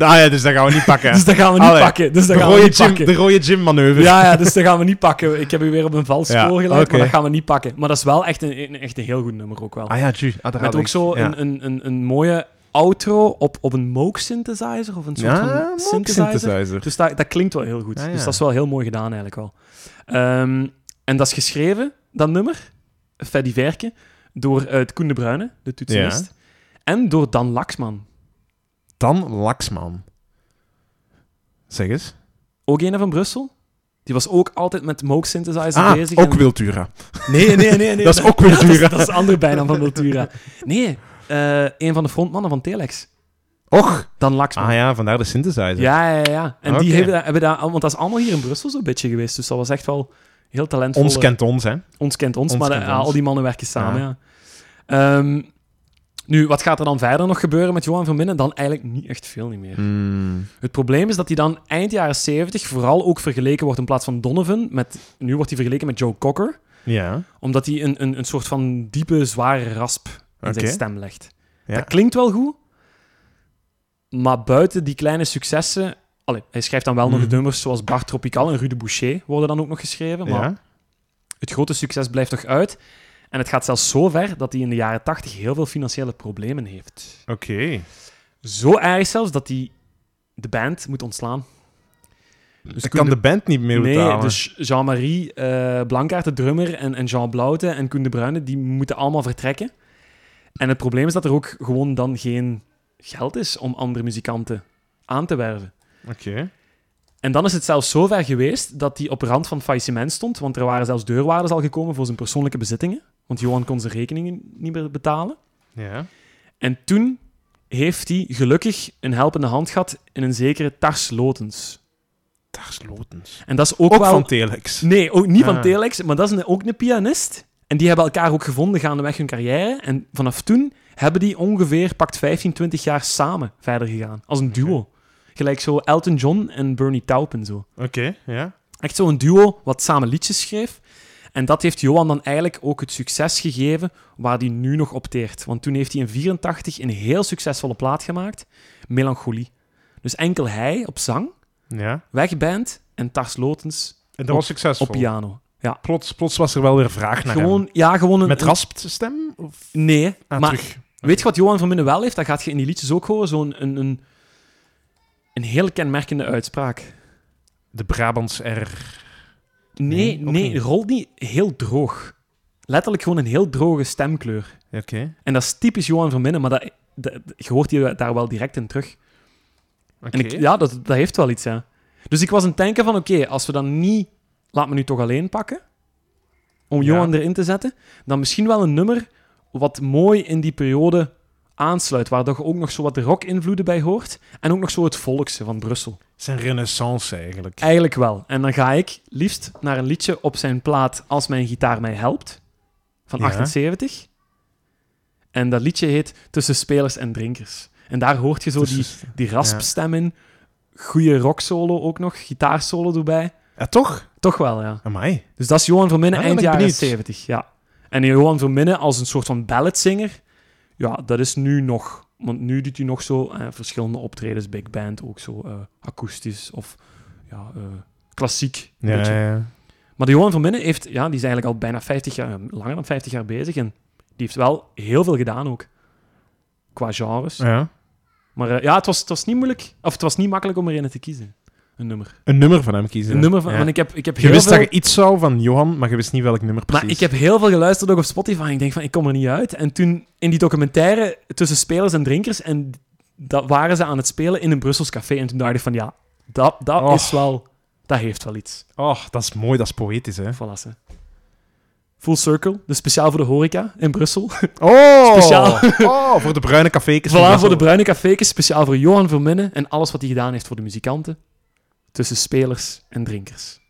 [SPEAKER 2] Ah, ja, dus dat gaan we niet pakken.
[SPEAKER 1] Dus dat gaan we niet
[SPEAKER 2] Allee,
[SPEAKER 1] pakken. Dus dat
[SPEAKER 2] de,
[SPEAKER 1] gaan we
[SPEAKER 2] rode
[SPEAKER 1] niet
[SPEAKER 2] gym,
[SPEAKER 1] pakken.
[SPEAKER 2] de rode gym manoeuvre.
[SPEAKER 1] Ja, ja, dus dat gaan we niet pakken. Ik heb u weer op een vals
[SPEAKER 2] Ja,
[SPEAKER 1] spoor geleid,
[SPEAKER 2] oké.
[SPEAKER 1] maar dat gaan we niet pakken. Maar dat is wel echt een, een- echt een heel goed nummer ook wel.
[SPEAKER 2] Ah ja, ju. Ah, daar
[SPEAKER 1] Met
[SPEAKER 2] had
[SPEAKER 1] ook
[SPEAKER 2] ik-
[SPEAKER 1] zo
[SPEAKER 2] ja.
[SPEAKER 1] een, een, een, een mooie outro op, op een Moog synthesizer of een soort
[SPEAKER 2] Ja,
[SPEAKER 1] van
[SPEAKER 2] Moog
[SPEAKER 1] synthesizer.
[SPEAKER 2] synthesizer.
[SPEAKER 1] Dus dat, dat klinkt wel heel goed.
[SPEAKER 2] Ah, ja.
[SPEAKER 1] Dus dat is wel heel mooi gedaan eigenlijk wel. Ehm, en dat is geschreven, dat nummer, Freddy Verke, door eh, het Koen de Bruyne, de toetsenist. En door Dan Laxman.
[SPEAKER 2] Dan Laxman. Zeg eens.
[SPEAKER 1] Ook een van Brussel. Die was ook altijd met Moog Synthesizer
[SPEAKER 2] Ah,
[SPEAKER 1] bezig.
[SPEAKER 2] ook
[SPEAKER 1] en-
[SPEAKER 2] Wiltura.
[SPEAKER 1] Nee, nee, nee. nee
[SPEAKER 2] dat is ook Wiltura.
[SPEAKER 1] dat, is, dat is een andere bijnaam van Wiltura. Nee, eh, een van de frontmannen van Telex.
[SPEAKER 2] Och.
[SPEAKER 1] Dan Laxman.
[SPEAKER 2] Ah ja, vandaar de synthesizer.
[SPEAKER 1] Ja, ja, ja. En
[SPEAKER 2] Oké.
[SPEAKER 1] die hebben, daar- hebben daar... Want dat is allemaal hier in Brussel zo'n beetje geweest. Dus dat was echt wel heel talentvol.
[SPEAKER 2] Ons kent ons, hè.
[SPEAKER 1] Ons kent ons,
[SPEAKER 2] Ons
[SPEAKER 1] maar de-
[SPEAKER 2] kent
[SPEAKER 1] ah,
[SPEAKER 2] ons.
[SPEAKER 1] al die mannen werken samen, ja. Ehm, nu, wat gaat er dan verder nog gebeuren met Johan Verminnen? Dan eigenlijk niet echt veel niet meer.
[SPEAKER 2] Hm.
[SPEAKER 1] Het probleem is dat hij dan eind jaren 70 vooral ook vergeleken wordt in plaats van Donovan. Met, nu wordt hij vergeleken met Joe Cocker,
[SPEAKER 2] Ja.
[SPEAKER 1] omdat hij een, een, een soort van diepe, zware rasp in
[SPEAKER 2] Oké.
[SPEAKER 1] zijn stem legt.
[SPEAKER 2] Ja.
[SPEAKER 1] Dat klinkt wel goed, maar buiten die kleine successen... Allee, hij schrijft dan wel nog
[SPEAKER 2] Mhm.
[SPEAKER 1] nummers zoals Bart Tropical en Rue de Boucher worden dan ook nog geschreven, maar
[SPEAKER 2] ja.
[SPEAKER 1] het grote succes blijft toch uit. En het gaat zelfs zo ver dat hij in de jaren 80 heel veel financiële problemen heeft.
[SPEAKER 2] Oké.
[SPEAKER 1] Dus Zo erg zelfs dat hij de band moet ontslaan.
[SPEAKER 2] Dus
[SPEAKER 1] Koen
[SPEAKER 2] ik kan
[SPEAKER 1] de-
[SPEAKER 2] de band niet meer betalen.
[SPEAKER 1] Nee, dus Jean-Marie eh Blankaert, de drummer, en, en Jean Blauten en Koen de Bruyne, die moeten allemaal vertrekken. En het probleem is dat er ook gewoon dan geen geld is om andere muzikanten aan te werven.
[SPEAKER 2] Oké.
[SPEAKER 1] En dan is het zelfs zo ver geweest dat hij op rand van faillissement stond, want er waren zelfs deurwaarders al gekomen voor zijn persoonlijke bezittingen, want Johan kon zijn rekeningen niet meer betalen.
[SPEAKER 2] Ja.
[SPEAKER 1] En toen heeft hij gelukkig een helpende hand gehad in een zekere Tars Lotens.
[SPEAKER 2] Daar is Lotens.
[SPEAKER 1] En dat is ook,
[SPEAKER 2] Ook
[SPEAKER 1] wel...
[SPEAKER 2] van Telex.
[SPEAKER 1] Nee, ook niet van
[SPEAKER 2] Ah.
[SPEAKER 1] Telex, maar dat is een- ook een pianist. En die hebben elkaar ook gevonden gaandeweg hun carrière. En vanaf toen hebben die ongeveer pakt 15, 20 jaar samen verder gegaan. Als een duo. Gelijk zo Elton John en Bernie Taupin zo.
[SPEAKER 2] Oké, ja.
[SPEAKER 1] Echt zo'n duo wat samen liedjes schreef. En dat heeft Johan dan eigenlijk ook het succes gegeven waar hij nu nog opteert. Want toen heeft hij in 84 een heel succesvolle plaat gemaakt, Melancholie. Dus enkel hij op zang,
[SPEAKER 2] Ja.
[SPEAKER 1] Wegband en Tars Lotens
[SPEAKER 2] En dat
[SPEAKER 1] Op-
[SPEAKER 2] was succesvol.
[SPEAKER 1] op piano. Ja,
[SPEAKER 2] plots, plots was er wel weer vraag naar hem.
[SPEAKER 1] gewoon, ja, gewoon een...
[SPEAKER 2] Met raspt stem? Of...
[SPEAKER 1] een- Nee,
[SPEAKER 2] Ah,
[SPEAKER 1] maar
[SPEAKER 2] terug.
[SPEAKER 1] weet je wat Johan van Minnen wel heeft? Dat gaat je in die liedjes ook horen, zo'n een, een, een heel kenmerkende uitspraak.
[SPEAKER 2] De Brabants R.
[SPEAKER 1] Nee,
[SPEAKER 2] Nee, ook
[SPEAKER 1] nee,
[SPEAKER 2] niet.
[SPEAKER 1] rolt niet heel droog. Letterlijk gewoon een heel droge stemkleur.
[SPEAKER 2] Oké.
[SPEAKER 1] En dat is typisch Johan Verminnen, maar dat, dat, je hoort die daar wel direct in terug. En ik, ja, dat, dat heeft wel iets, ja. Dus ik was aan het denken van, oké, als we dan niet Laat me nu toch alleen pakken, om Johan erin te zetten, dan misschien wel een nummer wat mooi in die periode aansluit, waar toch ook nog zo wat rock-invloeden bij hoort en ook nog zo het volkse van Brussel.
[SPEAKER 2] zijn renaissance eigenlijk.
[SPEAKER 1] Eigenlijk wel. En dan ga ik liefst naar een liedje op zijn plaat Als mijn gitaar mij helpt, van
[SPEAKER 2] Ja.
[SPEAKER 1] 78. En dat liedje heet Tussen spelers en drinkers. En daar hoort je zo die,
[SPEAKER 2] Dus-
[SPEAKER 1] die raspstem in, goede rocksolo ook nog, gitaarsolo erbij.
[SPEAKER 2] Ja, toch?
[SPEAKER 1] Toch wel, ja.
[SPEAKER 2] Amai.
[SPEAKER 1] Dus dat is Johan Verminnen
[SPEAKER 2] Ah, dan
[SPEAKER 1] eind
[SPEAKER 2] ben ik
[SPEAKER 1] jaren
[SPEAKER 2] benieuwd.
[SPEAKER 1] 70, ja. En Johan Verminnen als een soort van balladzanger, ja, dat is nu nog. Want nu doet hij nog zo eh, verschillende optredens, big band, ook zo eh, akoestisch of ja, eh, klassiek. een
[SPEAKER 2] Ja,
[SPEAKER 1] beetje.
[SPEAKER 2] ja, ja.
[SPEAKER 1] Maar de Johan Verminnen heeft, ja, die is eigenlijk al bijna 50 jaar, eh, langer dan 50 jaar bezig en die heeft wel heel veel gedaan ook. Qua genres.
[SPEAKER 2] Ja.
[SPEAKER 1] Maar eh, ja, het was, het was niet moeilijk, of het was niet makkelijk om er een te kiezen. Een nummer.
[SPEAKER 2] Een nummer van hem kiezen.
[SPEAKER 1] Een nummer van,
[SPEAKER 2] Ja.
[SPEAKER 1] want ik heb, ik heb
[SPEAKER 2] Je
[SPEAKER 1] heel
[SPEAKER 2] wist
[SPEAKER 1] veel...
[SPEAKER 2] dat je iets zou van Johan, maar je wist niet welk nummer precies.
[SPEAKER 1] Maar ik heb heel veel geluisterd ook op Spotify. en Ik denk van, ik kom er niet uit. En toen in die documentaire tussen spelers en drinkers, en dat waren ze aan het spelen in een Brussels café. En toen dacht ik van, ja, dat, dat
[SPEAKER 2] Och.
[SPEAKER 1] is wel, dat heeft wel iets.
[SPEAKER 2] Oh, dat is mooi, dat is poëtisch, hè?
[SPEAKER 1] Voilà, ze. Full Circle, dus speciaal voor de horeca in Brussel.
[SPEAKER 2] Oh!
[SPEAKER 1] Speciaal.
[SPEAKER 2] Oh, voor de bruine cafékes. van
[SPEAKER 1] Voilà, voor de
[SPEAKER 2] Brussel.
[SPEAKER 1] bruine cafékes, speciaal voor Johan Verminnen en alles wat hij gedaan heeft voor de muzikanten. Tussen spelers en drinkers.